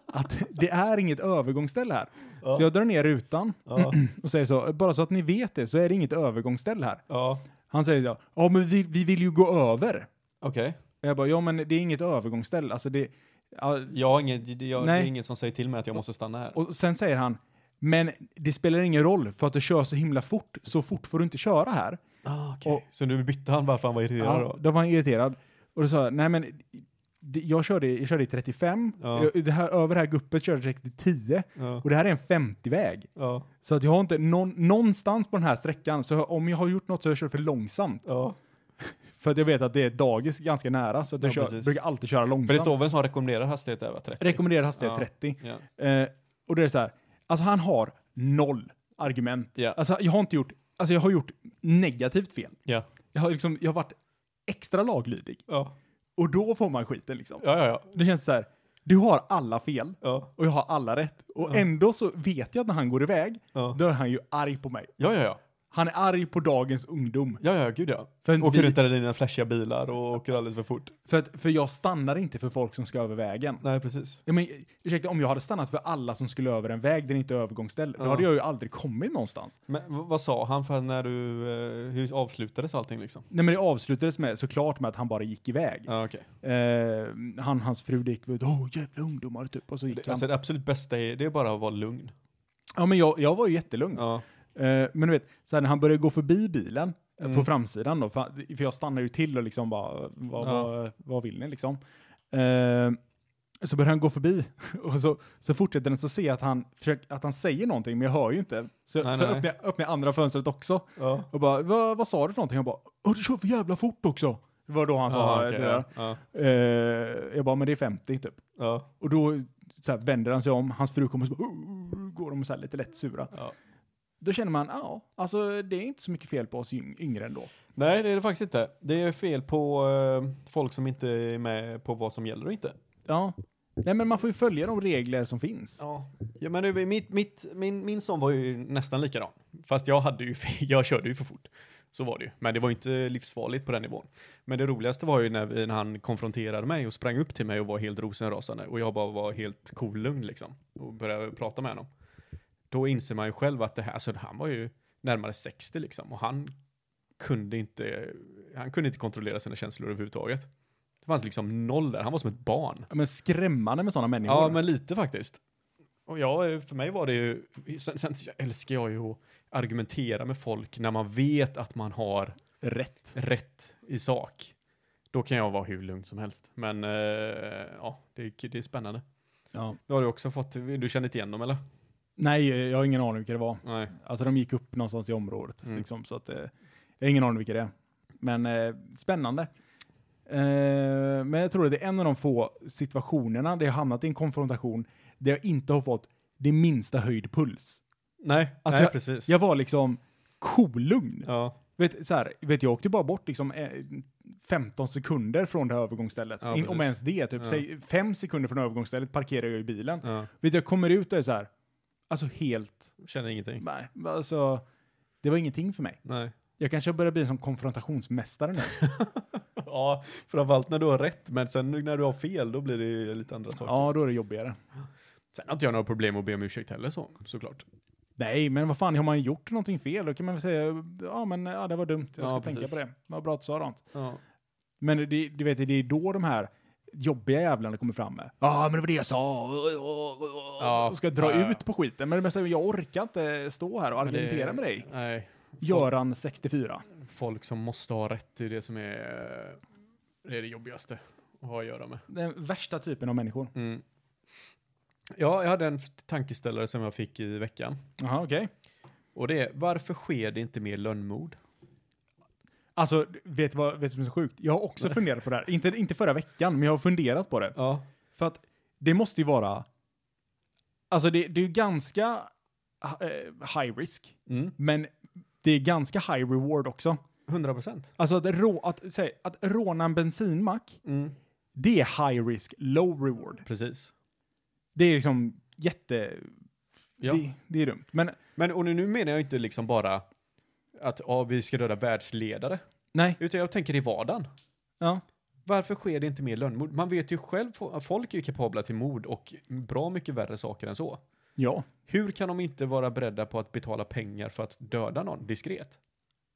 Speaker 4: att det är inget övergångsställe här.
Speaker 3: Ja.
Speaker 4: Så jag drar ner rutan
Speaker 3: Ja.
Speaker 4: och säger så, bara så att ni vet det så är det inget övergångsställe här.
Speaker 3: ja.
Speaker 4: Han säger så, ja men vi, vi vill ju gå över.
Speaker 3: Okej.
Speaker 4: Och jag bara, ja men det är inget övergångsställe, alltså det, ja,
Speaker 3: Jag har ingen, det- jag, det är
Speaker 4: Nej.
Speaker 3: ingen som säger till mig att jag måste stanna här.
Speaker 4: Och sen säger han, men det spelar ingen roll för att du kör så himla fort, så fort får du inte köra här.
Speaker 3: Ah, okej. Så nu bytte han varför han var irriterad
Speaker 4: Ja,
Speaker 3: då?
Speaker 4: då var han irriterad. Och då sa jag, nej men det- jag körde, jag körde i 35,
Speaker 3: Ja.
Speaker 4: jag, det här, över det här guppet körde jag direkt i 10
Speaker 3: Ja.
Speaker 4: och det här är en 50-väg.
Speaker 3: Ja.
Speaker 4: Så att jag har inte, någon, någonstans på den här sträckan, så om jag har gjort något så har jag kört för långsamt.
Speaker 3: ja.
Speaker 4: För att jag vet att det är dagis ganska nära, så att jag
Speaker 3: Ja,
Speaker 4: kör,
Speaker 3: precis.
Speaker 4: brukar alltid köra långsamt.
Speaker 3: För det står väl en sån rekommenderad hastighet där va? 30?
Speaker 4: Rekommenderad hastighet
Speaker 3: Ja.
Speaker 4: 30.
Speaker 3: Ja.
Speaker 4: Eh, och det är så här, alltså han har noll argument.
Speaker 3: Ja.
Speaker 4: Alltså jag har inte gjort, alltså jag har gjort negativt fel.
Speaker 3: Ja.
Speaker 4: Jag har liksom, jag har varit extra laglydig.
Speaker 3: Ja.
Speaker 4: Och då får man skiten liksom.
Speaker 3: Ja, ja, ja.
Speaker 4: Det känns så här, du har alla fel
Speaker 3: Ja.
Speaker 4: och jag har alla rätt. Och ändå så vet jag att när han går iväg,
Speaker 3: Ja.
Speaker 4: då är han ju arg på mig.
Speaker 3: Ja, ja, ja.
Speaker 4: Han är arg på dagens ungdom.
Speaker 3: Ja, ja, gud ja.
Speaker 4: För, att
Speaker 3: Åker
Speaker 4: vi,
Speaker 3: runt där i dina flashiga bilar och åker alldeles för fort.
Speaker 4: för, att, för jag stannar inte för folk som ska över vägen.
Speaker 3: Nej, precis.
Speaker 4: Ja, men, ursäkta, om jag hade stannat för alla som skulle över en väg där det inte är övergångsställe, då
Speaker 3: Ja.
Speaker 4: hade jag ju aldrig kommit någonstans.
Speaker 3: Men v- vad sa han för när du, eh, hur avslutades allting liksom?
Speaker 4: Nej men det avslutades med, såklart med att han bara gick iväg.
Speaker 3: Ja, okej.
Speaker 4: Eh, han, hans fru det gick ut, åh jävla ungdomar typ, och så gick
Speaker 3: Det,
Speaker 4: han.
Speaker 3: alltså det absolut bästa är, det är bara att vara lugn.
Speaker 4: ja men jag, jag var ju jättelugn.
Speaker 3: Ja.
Speaker 4: Eh, men du vet, så här, när han började gå förbi bilen eh,
Speaker 3: Mm.
Speaker 4: på framsidan då, för, han- för jag stannade ju till och liksom bara, vad,
Speaker 3: Ja.
Speaker 4: vad, vad vill ni liksom? Eh, så började han gå förbi och så, så fortsätter den så ser jag att han, försöker- att han säger någonting men jag hör ju inte. Så,
Speaker 3: Nej,
Speaker 4: så
Speaker 3: nej.
Speaker 4: öppnar jag öppnar jag andra fönstret också
Speaker 3: Ja.
Speaker 4: och bara, "Va- vad sa du för någonting? Han bara, "Åh, du kör för jävla fort också. Det var då han sa
Speaker 3: Ja, "Ah, okej,
Speaker 4: det där.
Speaker 3: ja. Ja.
Speaker 4: Eh, jag bara, men det är 50 typ.
Speaker 3: Ja.
Speaker 4: Och då så här, vänder han sig om, hans fru kommer och så bara, "Oh", går de så här lite lätt sura.
Speaker 3: Ja.
Speaker 4: Då känner man, ja, alltså det är inte så mycket fel på oss yng- yngre ändå.
Speaker 3: Nej, det är det faktiskt inte. Det är fel på eh, folk som inte är med på vad som gäller och inte.
Speaker 4: Ja. Nej men man får ju följa de regler som finns.
Speaker 3: Ja, ja men det- mitt, mitt, min, min son var ju nästan likadan. Fast jag, hade ju, jag körde ju för fort. Så var det ju. Men det var ju inte livsfarligt på den nivån. Men det roligaste var ju när, vi, när han konfronterade mig och sprang upp till mig och var helt rosenrasande. Och jag bara var helt cool lugn liksom. Och började prata med honom. Då inser man ju själv att det här, alltså han var ju närmare 60 liksom. Och han kunde inte, han kunde inte kontrollera sina känslor överhuvudtaget. Det fanns liksom noll där, han var som ett barn.
Speaker 4: Ja, Men skrämmande med sådana människor.
Speaker 3: Ja, men lite faktiskt. Och ja, för mig var det ju, sen, sen älskar jag ju att argumentera med folk när man vet att man har
Speaker 4: Rätt.
Speaker 3: rätt i sak. Då kan jag vara hur lugn som helst. Men eh, ja, det, är- det är spännande.
Speaker 4: Ja.
Speaker 3: Du har du också fått, du känner inte igen dem eller?
Speaker 4: Nej, jag har ingen aning vilka det var.
Speaker 3: Nej.
Speaker 4: Alltså de gick upp någonstans i området.
Speaker 3: Mm.
Speaker 4: Liksom, så att, eh, jag har ingen aning vilka det är. Men eh, spännande. Eh, men jag tror att det är en av de få situationerna där jag hamnat i en konfrontation där jag inte har fått det minsta höjd puls.
Speaker 3: Nej,
Speaker 4: Alltså,
Speaker 3: nej, precis.
Speaker 4: Jag var liksom kolugn.
Speaker 3: ja,
Speaker 4: Vet, så här, vet, jag åkte bara bort liksom, eh, 15 sekunder från det här övergångsstället.
Speaker 3: Ja,
Speaker 4: In,
Speaker 3: precis.
Speaker 4: om ens det, typ.
Speaker 3: Ja.
Speaker 4: Säg, fem sekunder från övergångsstället parkerar jag i bilen.
Speaker 3: ja,
Speaker 4: Vet, jag kommer ut och är så här, alltså helt,
Speaker 3: känner ingenting.
Speaker 4: nej, alltså, det var ingenting för mig.
Speaker 3: Nej.
Speaker 4: Jag kanske börjar bli som konfrontationsmästare nu.
Speaker 3: ja, framförallt när du har rätt, men sen när du har fel, då blir det ju lite andra saker.
Speaker 4: Ja, då är det jobbigare.
Speaker 3: Sen har inte jag några problem att be om ursäkt heller så, såklart.
Speaker 4: Nej, men vad fan, har man gjort någonting fel, då kan man väl säga ja, men ja, det var dumt, jag
Speaker 3: Ja,
Speaker 4: ska
Speaker 3: precis.
Speaker 4: tänka på det. Vad bra att du sa det.
Speaker 3: Ja.
Speaker 4: Men det, du vet, det är då de här jobbiga jävlarna kommer fram med. Ja, men det var det jag sa.
Speaker 3: Ja,
Speaker 4: och ska dra
Speaker 3: ja, ja.
Speaker 4: ut på skiten. Men det mesta är, jag orkar inte stå här och
Speaker 3: Men det-
Speaker 4: argumentera med dig.
Speaker 3: Nej,
Speaker 4: Göran 64.
Speaker 3: folk som måste ha rätt i det som är det, är det jobbigaste att ha att göra med.
Speaker 4: Den värsta typen av människor.
Speaker 3: Mm. Ja, jag hade en f- tankeställare som jag fick i veckan.
Speaker 4: Jaha, okej.
Speaker 3: Och det är, varför sker det inte mer lönnmord?
Speaker 4: Alltså, vet du vad vet du vad som är så sjukt? Jag har också funderat på det här. Inte, inte förra veckan, men jag har funderat på det.
Speaker 3: Ja.
Speaker 4: För att det måste ju vara... Alltså, det, det är ju ganska eh, high risk,
Speaker 3: Mm.
Speaker 4: men det är ganska high reward också.
Speaker 3: 100 procent.
Speaker 4: Alltså att, rå, att, säg, att råna en bensinmack, det är high risk, low reward.
Speaker 3: Mm, Precis.
Speaker 4: Det är liksom jätte...
Speaker 3: Ja.
Speaker 4: Det, det är dumt. Men
Speaker 3: Men och nu- nu menar jag inte liksom bara att ja, vi ska döda världsledare,
Speaker 4: nej,
Speaker 3: utan jag tänker i vardagen.
Speaker 4: ja.
Speaker 3: Varför sker det inte mer lönnmord? Man vet ju själv, fo- folk är ju kapabla till mord och bra mycket värre saker än så.
Speaker 4: Ja.
Speaker 3: Hur kan de inte vara beredda på att betala pengar för att döda någon diskret?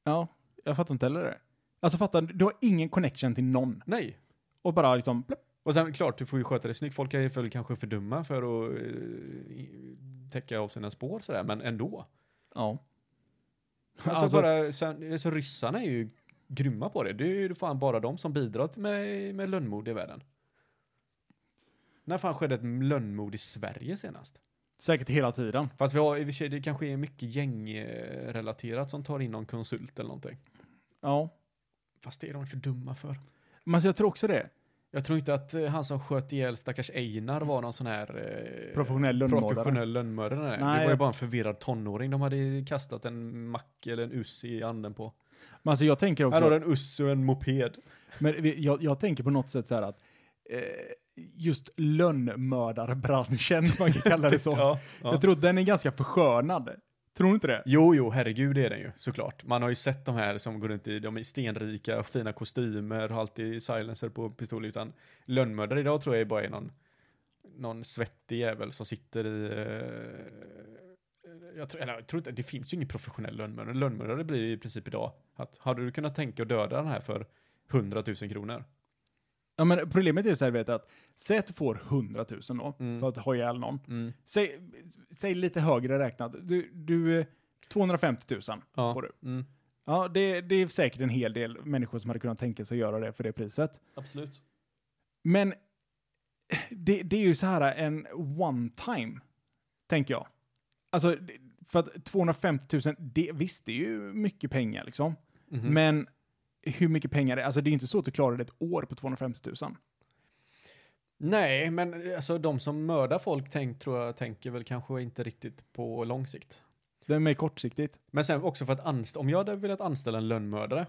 Speaker 4: Ja, jag fattar inte heller det. Alltså fattar du, du har ingen connection till någon.
Speaker 3: Nej.
Speaker 4: Och bara liksom, plopp.
Speaker 3: Och sen klart, du får ju sköta det snyggt. Folk är väl kanske för dumma för att eh, i- täcka av sina spår sådär, men ändå.
Speaker 4: Ja.
Speaker 3: Alltså, bara, sen, alltså ryssarna är ju grymma på det. Det är ju fan bara de som bidrar till- med, med lönnmord i världen. När fan skedde ett lönnmord i Sverige senast?
Speaker 4: säkert hela tiden.
Speaker 3: Fast vi har i och för sig, det kanske är mycket gängrelaterat som tar in någon konsult eller någonting.
Speaker 4: Ja.
Speaker 3: Fast det är de för dumma för.
Speaker 4: Men så jag tror också det.
Speaker 3: Jag tror inte att eh, han som sköt ihjäl stackars Einar var någon sån här... Eh,
Speaker 4: Professionell lönnmördare.
Speaker 3: Professionell lönnmördare.
Speaker 4: Nej,
Speaker 3: Nej. det var ju
Speaker 4: jag-
Speaker 3: bara en förvirrad tonåring. De hade kastat en mack eller en uss i anden på.
Speaker 4: Men alltså jag tänker
Speaker 3: Här har
Speaker 4: också,
Speaker 3: du en uss och en moped.
Speaker 4: men vi- jag, jag tänker på något sätt så här att eh, just lönnmördarbranschen, om man kan kalla det så.
Speaker 3: Ja, ja.
Speaker 4: Jag tror den är ganska förskönad. Tror du inte det?
Speaker 3: Jo, jo, herregud det är den ju, såklart. Man har ju sett de här som går runt i, de är stenrika, fina kostymer, har alltid silencer på pistol, utan lönnmördare idag tror jag bara är någon, någon svettig jävel som sitter i, eh, jag, tror, eller, jag tror inte, det finns ju ingen professionell lönnmördare. Lönnmördare blir ju i princip idag att, hade du kunnat tänka att döda den här för 100 000 kronor?
Speaker 4: Ja, men problemet är ju så här, vet du, att säg att du får 100 000 då,
Speaker 3: Mm.
Speaker 4: för att ha ihjäl någon.
Speaker 3: Mm.
Speaker 4: Säg, säg lite högre räknat. Du, du eh, 250 000
Speaker 3: Ja.
Speaker 4: får du.
Speaker 3: Mm.
Speaker 4: Ja, det, det är säkert en hel del människor som hade kunnat tänka sig att göra det för det priset.
Speaker 3: Absolut.
Speaker 4: Men eh, det, det är ju så här en one time, tänker jag. Alltså, det- för att 250 000, det, visst det är ju mycket pengar liksom.
Speaker 3: Mhm.
Speaker 4: Men hur mycket pengar det är, alltså det är ju inte så att du klarar det ett år på 250 000.
Speaker 3: Nej, men alltså de som mördar folk tänk, tror jag tänker väl kanske inte riktigt på lång sikt.
Speaker 4: Det är mer kortsiktigt.
Speaker 3: Men sen också för att anställa, om jag hade velat anställa en lönnmördare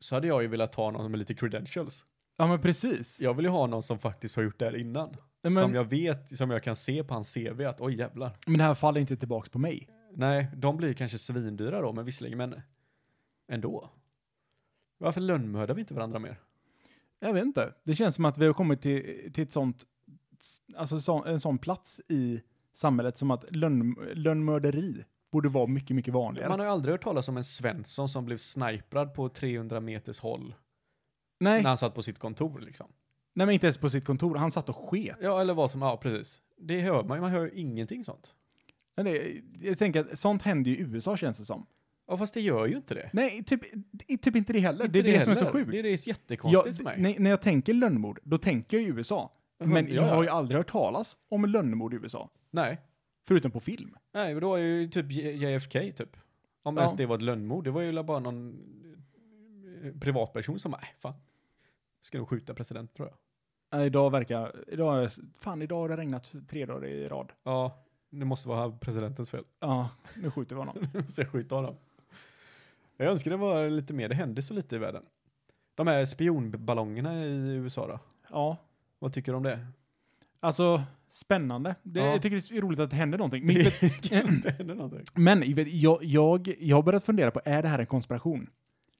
Speaker 3: så hade jag ju velat ha någon med lite credentials.
Speaker 4: Ja, men precis.
Speaker 3: Jag vill ju ha någon som faktiskt har gjort det här innan.
Speaker 4: Men,
Speaker 3: Som
Speaker 4: men,
Speaker 3: jag vet, som jag kan se på hans CV att oj jävlar.
Speaker 4: det här faller inte tillbaks på mig.
Speaker 3: Nej, de blir kanske svindyra då, men visserligen, men ändå. Varför lönnmördar vi inte varandra mer?
Speaker 4: Jag vet inte. Det känns som att vi har kommit till, till ett sånt, alltså så, en sån plats i samhället som att lönn, lönnmörderi borde vara mycket, mycket vanligare.
Speaker 3: Man har ju aldrig hört talas om en Svensson som blev sniprad på 300 meters håll
Speaker 4: nej,
Speaker 3: när han satt på sitt kontor liksom.
Speaker 4: nej, men inte ens på sitt kontor. Han satt och sket.
Speaker 3: Ja, eller vad som, ja precis. Det hör man ju, man hör ju ingenting sånt.
Speaker 4: Men det- Jag tänker att sånt händer ju i USA känns det som.
Speaker 3: Ja, fast det gör ju inte det.
Speaker 4: Nej, typ, typ inte det heller.
Speaker 3: Inte
Speaker 4: det är det, som är så
Speaker 3: heller.
Speaker 4: sjukt.
Speaker 3: Det är det är jättekonstigt
Speaker 4: Jag,
Speaker 3: för mig.
Speaker 4: när, när jag tänker lönnmord, då tänker jag i USA.
Speaker 3: Mm,
Speaker 4: Men
Speaker 3: ja,
Speaker 4: jag
Speaker 3: ja.
Speaker 4: har ju aldrig hört talas om lönnmord i USA.
Speaker 3: Nej.
Speaker 4: Förutom på film.
Speaker 3: Nej, men då är ju typ J- JFK typ. Om
Speaker 4: Ja.
Speaker 3: ens det var ett lönnmord, det var ju bara någon eh, privatperson som, nej fan. Ska nog skjuta president tror jag.
Speaker 4: Nej, Idag verkar... Idag, är- fan, idag har det regnat tre dagar i rad.
Speaker 3: Ja, det måste vara presidentens fel.
Speaker 4: Ja, nu skjuter vi honom.
Speaker 3: Så jag skjuta honom. Jag önskar det var lite mer, det hände så lite i världen. De här spionballongerna i USA då?
Speaker 4: Ja,
Speaker 3: Vad tycker du om det?
Speaker 4: alltså spännande. Det,
Speaker 3: Ja.
Speaker 4: Jag tycker det är roligt att det händer någonting. Men,
Speaker 3: Det hände någonting.
Speaker 4: men jag vet- jag, jag, jag har börjat fundera på, är det här en konspiration?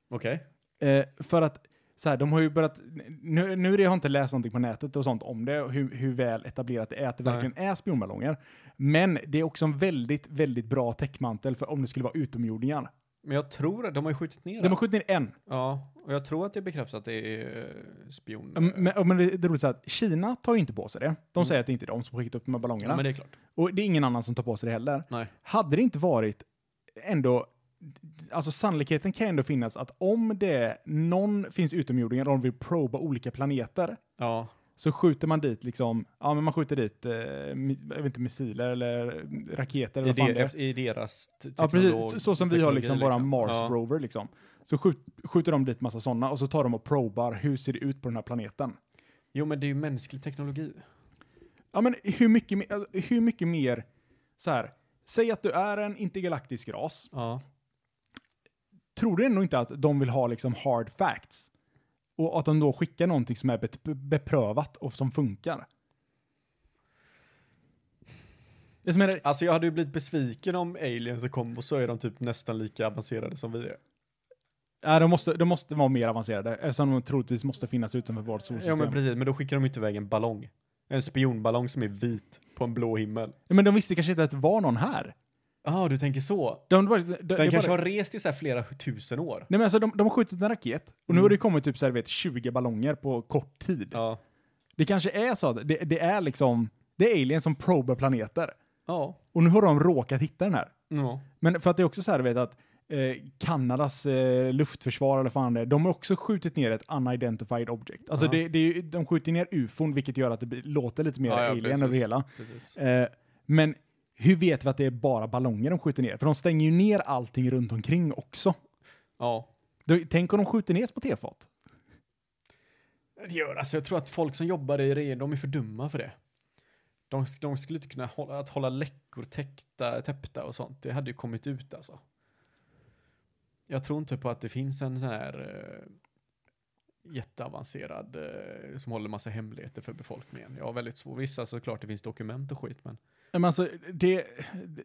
Speaker 3: Okej.
Speaker 4: Eh, för att så här, de har ju börjat, nu, nu har jag inte läst någonting på nätet och sånt om det, och hur, hur väl etablerat det är att det
Speaker 3: Nej.
Speaker 4: verkligen är spionballonger. Men det är också en väldigt, väldigt bra täckmantel för om det skulle vara utomjordingar.
Speaker 3: Men jag tror att de har ju skjutit ner
Speaker 4: De har
Speaker 3: den.
Speaker 4: skjutit ner en.
Speaker 3: Ja, och jag tror att det bekräftas att det är eh, spion.
Speaker 4: Men, men det är roligt så här att Kina tar ju inte på sig det. De
Speaker 3: Mm.
Speaker 4: säger att det inte är de som har skickat upp de här ballongerna.
Speaker 3: ja, men det är klart.
Speaker 4: Och det är ingen annan som tar på sig det heller.
Speaker 3: Nej.
Speaker 4: Hade det inte varit ändå, alltså sannolikheten kan ändå finnas att om det någon finns utomjordingar och de vill proba olika planeter
Speaker 3: Ja,
Speaker 4: så skjuter man dit liksom, ja men man skjuter dit, eh, mi- jag vet inte, missiler eller raketer eller
Speaker 3: i,
Speaker 4: vad fan det
Speaker 3: det,
Speaker 4: är.
Speaker 3: efter- i deras te-
Speaker 4: Ja
Speaker 3: teknolog-
Speaker 4: precis, så som vi har liksom
Speaker 3: teknologi,
Speaker 4: våra Mars
Speaker 3: Ja.
Speaker 4: Rover liksom. Så skjut, skjuter de dit massa sådana och så tar de och probar, hur ser det ut på den här planeten?
Speaker 3: Jo, men det är ju mänsklig teknologi.
Speaker 4: Ja, men hur mycket, me- alltså, hur mycket mer, så här, säg att du är en intergalaktisk ras.
Speaker 3: Ja.
Speaker 4: Tror du ändå inte att de vill ha liksom hard facts? Och att de då skickar någonting som är bet- beprövat och som funkar? Det som är det,
Speaker 3: Alltså jag hade ju blivit besviken om aliens kom och så är de typ nästan lika avancerade som vi är.
Speaker 4: ja, de, måste, de måste vara mer avancerade eftersom de troligtvis måste finnas utanför vårt
Speaker 3: Ja
Speaker 4: solsystem.
Speaker 3: men
Speaker 4: men,
Speaker 3: precis, men då skickar de ju inte iväg en ballong. En spionballong som är vit på en blå himmel.
Speaker 4: de visste kanske inte att det var någon här.
Speaker 3: Ja, ah, du tänker så.
Speaker 4: De, bara- de, det
Speaker 3: Den
Speaker 4: bara,
Speaker 3: kanske har rest i så här flera tusen år.
Speaker 4: Nej men alltså de, de har skjutit en raket och nu
Speaker 3: Mm.
Speaker 4: har det kommit typ så här, du vet, 20 ballonger på kort tid.
Speaker 3: Ja.
Speaker 4: Det kanske är så att det, det är liksom, det är aliens som probar planeter.
Speaker 3: Ja.
Speaker 4: Och nu har de råkat hitta den här.
Speaker 3: Ja.
Speaker 4: Men för att det är också så här, du vet att eh, Kanadas eh, luftförsvar eller fan det är, de har också skjutit ner ett unidentified object. Alltså
Speaker 3: Ja.
Speaker 4: det, det är, ju- de skjuter ner ufon vilket gör att det blir- låter lite mer
Speaker 3: Ja, ja,
Speaker 4: alien
Speaker 3: precis.
Speaker 4: över det hela.
Speaker 3: Precis.
Speaker 4: Eh, men hur vet vi att det är bara ballonger de skjuter ner? För de stänger ju ner allting runt omkring också.
Speaker 3: Ja.
Speaker 4: Du, tänk om de skjuter ner på tefat?
Speaker 3: Det gör alltså, jag tror att folk som jobbar i det, de är för dumma för det. De, de skulle inte kunna hålla, att hålla läckor täckta, täppta och sånt. Det hade ju kommit ut alltså. Jag tror inte på att det finns en sån här eh, jätteavancerad eh, som håller massa hemligheter för befolkningen. Jag har väldigt svårt. Vissa såklart det finns dokument och skit men
Speaker 4: Ja, Men alltså, det,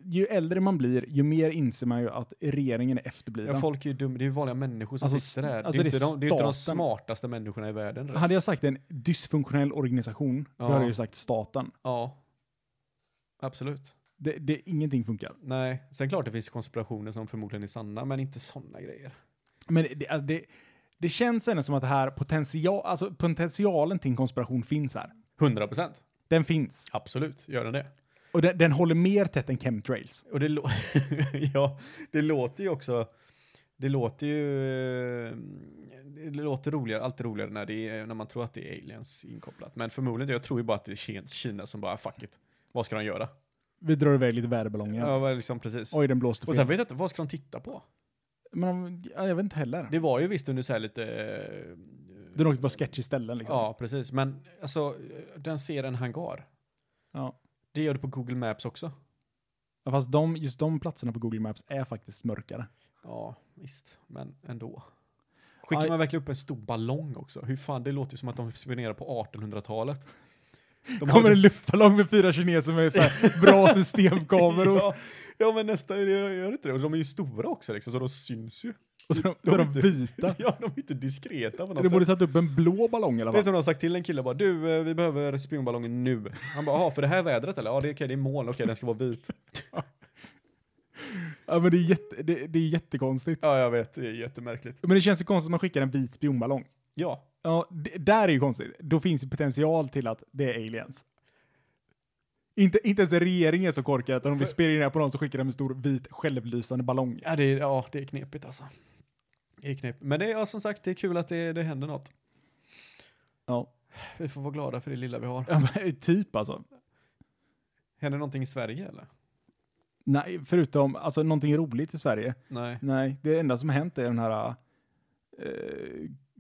Speaker 4: ju äldre man blir, ju mer inser man ju att regeringen är efterbliven.
Speaker 3: ja, folk är ju dumma. Det är ju vanliga människor som
Speaker 4: Alltså,
Speaker 3: sitter där.
Speaker 4: alltså,
Speaker 3: det, är
Speaker 4: det
Speaker 3: inte
Speaker 4: är
Speaker 3: de, det är inte de
Speaker 4: staten.
Speaker 3: smartaste människorna i världen. rätt?
Speaker 4: Hade jag sagt en dysfunktionell organisation,
Speaker 3: Ja.
Speaker 4: då hade jag ju sagt staten.
Speaker 3: Ja. Absolut.
Speaker 4: Det, det, ingenting funkar.
Speaker 3: Nej, sen klart det finns konspirationer som förmodligen är sanna, men inte sådana grejer.
Speaker 4: Men det, det, det känns ändå som att det här potential, alltså potentialen till en konspiration finns här.
Speaker 3: 100 procent.
Speaker 4: Den finns.
Speaker 3: Absolut, gör den det.
Speaker 4: Och den, den håller mer tätt än chemtrails.
Speaker 3: Och det, lå- ja, det låter ju också, det låter ju, eh, det låter roligare, alltid roligare när, det är, när man tror att det är aliens inkopplat. Men förmodligen, jag tror ju bara att det är Ki- Kina som bara, "Ah, fuck it, vad ska de göra?
Speaker 4: Vi drar iväg lite väderballonger.
Speaker 3: Ja, men liksom precis.
Speaker 4: Oj, den blåste
Speaker 3: Och
Speaker 4: fel.
Speaker 3: sen vet jag inte, vad ska de titta på?
Speaker 4: Men om- ja, jag vet inte heller.
Speaker 3: Det var ju visst under så här lite... eh,
Speaker 4: Den åkte på sketchy ställen liksom.
Speaker 3: Ja, precis. Men alltså, den ser en hangar.
Speaker 4: Ja.
Speaker 3: Det gör det på Google Maps också.
Speaker 4: Ja. Fast de, just de platserna på Google Maps är faktiskt mörkare.
Speaker 3: Ja, visst. Men ändå. Skickar
Speaker 4: Aj.
Speaker 3: man verkligen upp en stor ballong också? Hur fan, det låter ju som att de spionerar på 1800-talet. De
Speaker 4: kommer
Speaker 3: har-
Speaker 4: en luftballong med fyra kineser med så här bra systemkameror.
Speaker 3: ja, ja, men nästan gör, gör inte det. Och de är ju stora också liksom, så de syns ju.
Speaker 4: Och så de,
Speaker 3: De
Speaker 4: så
Speaker 3: är
Speaker 4: de vita.
Speaker 3: ja, de är inte diskreta på något
Speaker 4: Det borde
Speaker 3: sätt.
Speaker 4: satt upp en blå ballong i alla
Speaker 3: Det är
Speaker 4: fall.
Speaker 3: som de har sagt till en kille bara, du, eh, vi behöver spionballongen nu. Han bara, jaha, för det här vädret eller? Ja, det är okej, det är moln, okej, den ska vara vit.
Speaker 4: Ja, men det, är jätte, det, det är jättekonstigt.
Speaker 3: Ja, jag vet, det är jättemärkligt.
Speaker 4: Men det känns ju konstigt att man skickar en vit spionballong.
Speaker 3: Ja,
Speaker 4: Ja, det, där är ju konstigt. Då finns ju potential till att det är aliens. Inte, inte ens regeringen är så korkad utan de vill spela in på någon som skickar dem en stor vit självlysande ballong.
Speaker 3: Ja, det är, ja, det är knepigt alltså. Det är knepigt. Men det är ja, som sagt, det är kul att det, det händer något.
Speaker 4: Ja.
Speaker 3: Vi får vara glada för det lilla vi har.
Speaker 4: Ja, men, typ alltså.
Speaker 3: Händer någonting i Sverige eller?
Speaker 4: Nej, förutom alltså, någonting roligt i Sverige.
Speaker 3: Nej.
Speaker 4: Nej, det enda som har hänt är den här eh,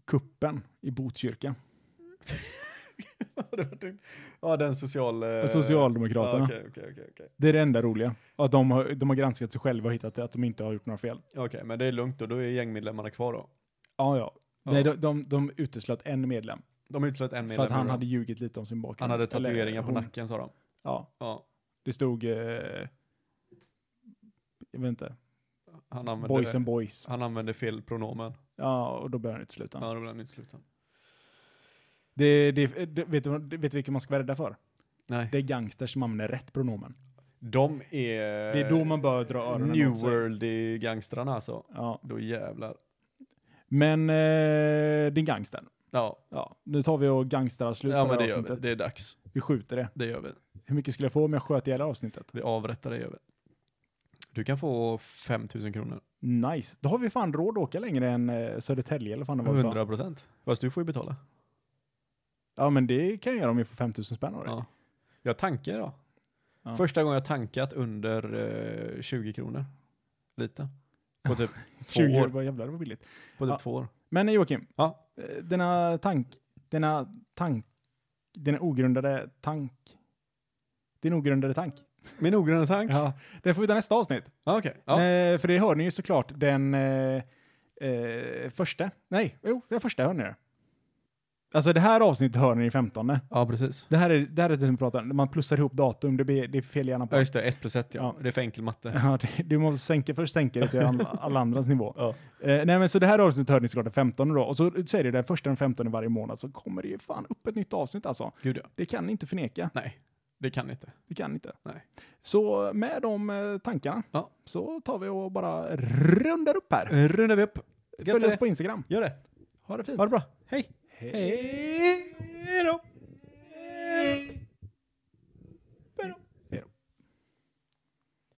Speaker 4: kuppen i Botkyrka.
Speaker 3: Det var typ- ja, den social... eh,
Speaker 4: Socialdemokraterna.
Speaker 3: Ja, Okej, okej, okej. okej.
Speaker 4: Det är det enda roliga. Att de har, de har granskat sig själva och hittat att de inte har gjort några fel.
Speaker 3: Okej, men det är lugnt då. Då är gängmedlemmarna kvar då.
Speaker 4: Ja, ja.
Speaker 3: Ja.
Speaker 4: Nej, de, de, de uteslöt en medlem.
Speaker 3: De har utlöst en
Speaker 4: för
Speaker 3: medlem.
Speaker 4: att han
Speaker 3: nu då.
Speaker 4: hade ljugit lite om sin bakgrund.
Speaker 3: han hade
Speaker 4: Eller
Speaker 3: tatueringar på
Speaker 4: hon.
Speaker 3: nacken sa de.
Speaker 4: Ja,
Speaker 3: Ja,
Speaker 4: det stod... Eh, jag vet inte.
Speaker 3: han använde,
Speaker 4: Boys and boys.
Speaker 3: han använde fel pronomen.
Speaker 4: Ja, och då börjar den sluta.
Speaker 3: Ja, då blir han utesluten.
Speaker 4: Det, det, det, vet, du, vad- vet du vilken man ska vara rädd för?
Speaker 3: Nej.
Speaker 4: Det är gangsters som använder rätt pronomen.
Speaker 3: De är...
Speaker 4: Det är då man bör dra öronen
Speaker 3: New
Speaker 4: åt sig.
Speaker 3: World-gangstrarna alltså.
Speaker 4: Ja.
Speaker 3: Då jävlar.
Speaker 4: Men eh, din gangster.
Speaker 3: Ja,
Speaker 4: Ja, nu tar vi och gangstrar slut
Speaker 3: ja
Speaker 4: på det
Speaker 3: men det
Speaker 4: här
Speaker 3: gör vi.
Speaker 4: avsnittet.
Speaker 3: Det är dags.
Speaker 4: Vi skjuter det.
Speaker 3: Det gör vi.
Speaker 4: Hur mycket skulle jag få om jag sköt ihjäl avsnittet?
Speaker 3: Vi avrättar det gör vi. Du kan få 5000 kronor.
Speaker 4: Nice. Då har vi fan råd att åka längre än eh, Södertälje eller fan det var vi sa.
Speaker 3: 100 procent. Fast du får ju betala.
Speaker 4: Ja, men det kan jag göra om jag får 5000 spänn av det.
Speaker 3: Ja. Jag tankar idag.
Speaker 4: Ja.
Speaker 3: Första gången jag tankat under eh, 20 kronor. Lite. På typ två
Speaker 4: 20 år,
Speaker 3: år.
Speaker 4: vad jävlar det var billigt.
Speaker 3: På typ
Speaker 4: Ja.
Speaker 3: två år.
Speaker 4: Men Joakim,
Speaker 3: Ja.
Speaker 4: eh, denna tank, denna tank, denna ogrundade tank, din ogrundade tank.
Speaker 3: Min ogrundade tank? Ja.
Speaker 4: Ja, det får vi ta nästa avsnitt.
Speaker 3: Okej. Ja.
Speaker 4: Eh, för det hör ni ju såklart den eh, eh, första, nej, jo, den första hör ni det. Alltså det här avsnittet hör ni i 15.
Speaker 3: ja, precis.
Speaker 4: Det här är det här är det som pratar, man plussar ihop datum, det, blir, det är fel i hjärnan
Speaker 3: Ja,
Speaker 4: på.
Speaker 3: just det. 1 plus 1 ja.
Speaker 4: Ja.
Speaker 3: Det är för enkel matte.
Speaker 4: Ja, det, du måste sänka, först sänka det till alla, alla andras nivå.
Speaker 3: Ja.
Speaker 4: Eh, nej men så det här avsnittet hör ni såklart den 15 då. Och så säger det den första den 15 varje månad så kommer det ju fan upp ett nytt avsnitt alltså.
Speaker 3: Gud ja.
Speaker 4: Det kan ni inte förneka.
Speaker 3: Nej, det kan inte.
Speaker 4: Det kan ni inte.
Speaker 3: Nej.
Speaker 4: Så med de eh, tankarna
Speaker 3: Ja.
Speaker 4: så tar vi och bara rundar upp här.
Speaker 3: Rundar vi upp.
Speaker 4: Följ
Speaker 3: Gött är
Speaker 4: oss
Speaker 3: det.
Speaker 4: på Instagram.
Speaker 3: Gör det.
Speaker 4: Ha det fint.
Speaker 3: Ha det bra. Hej.
Speaker 4: Hej.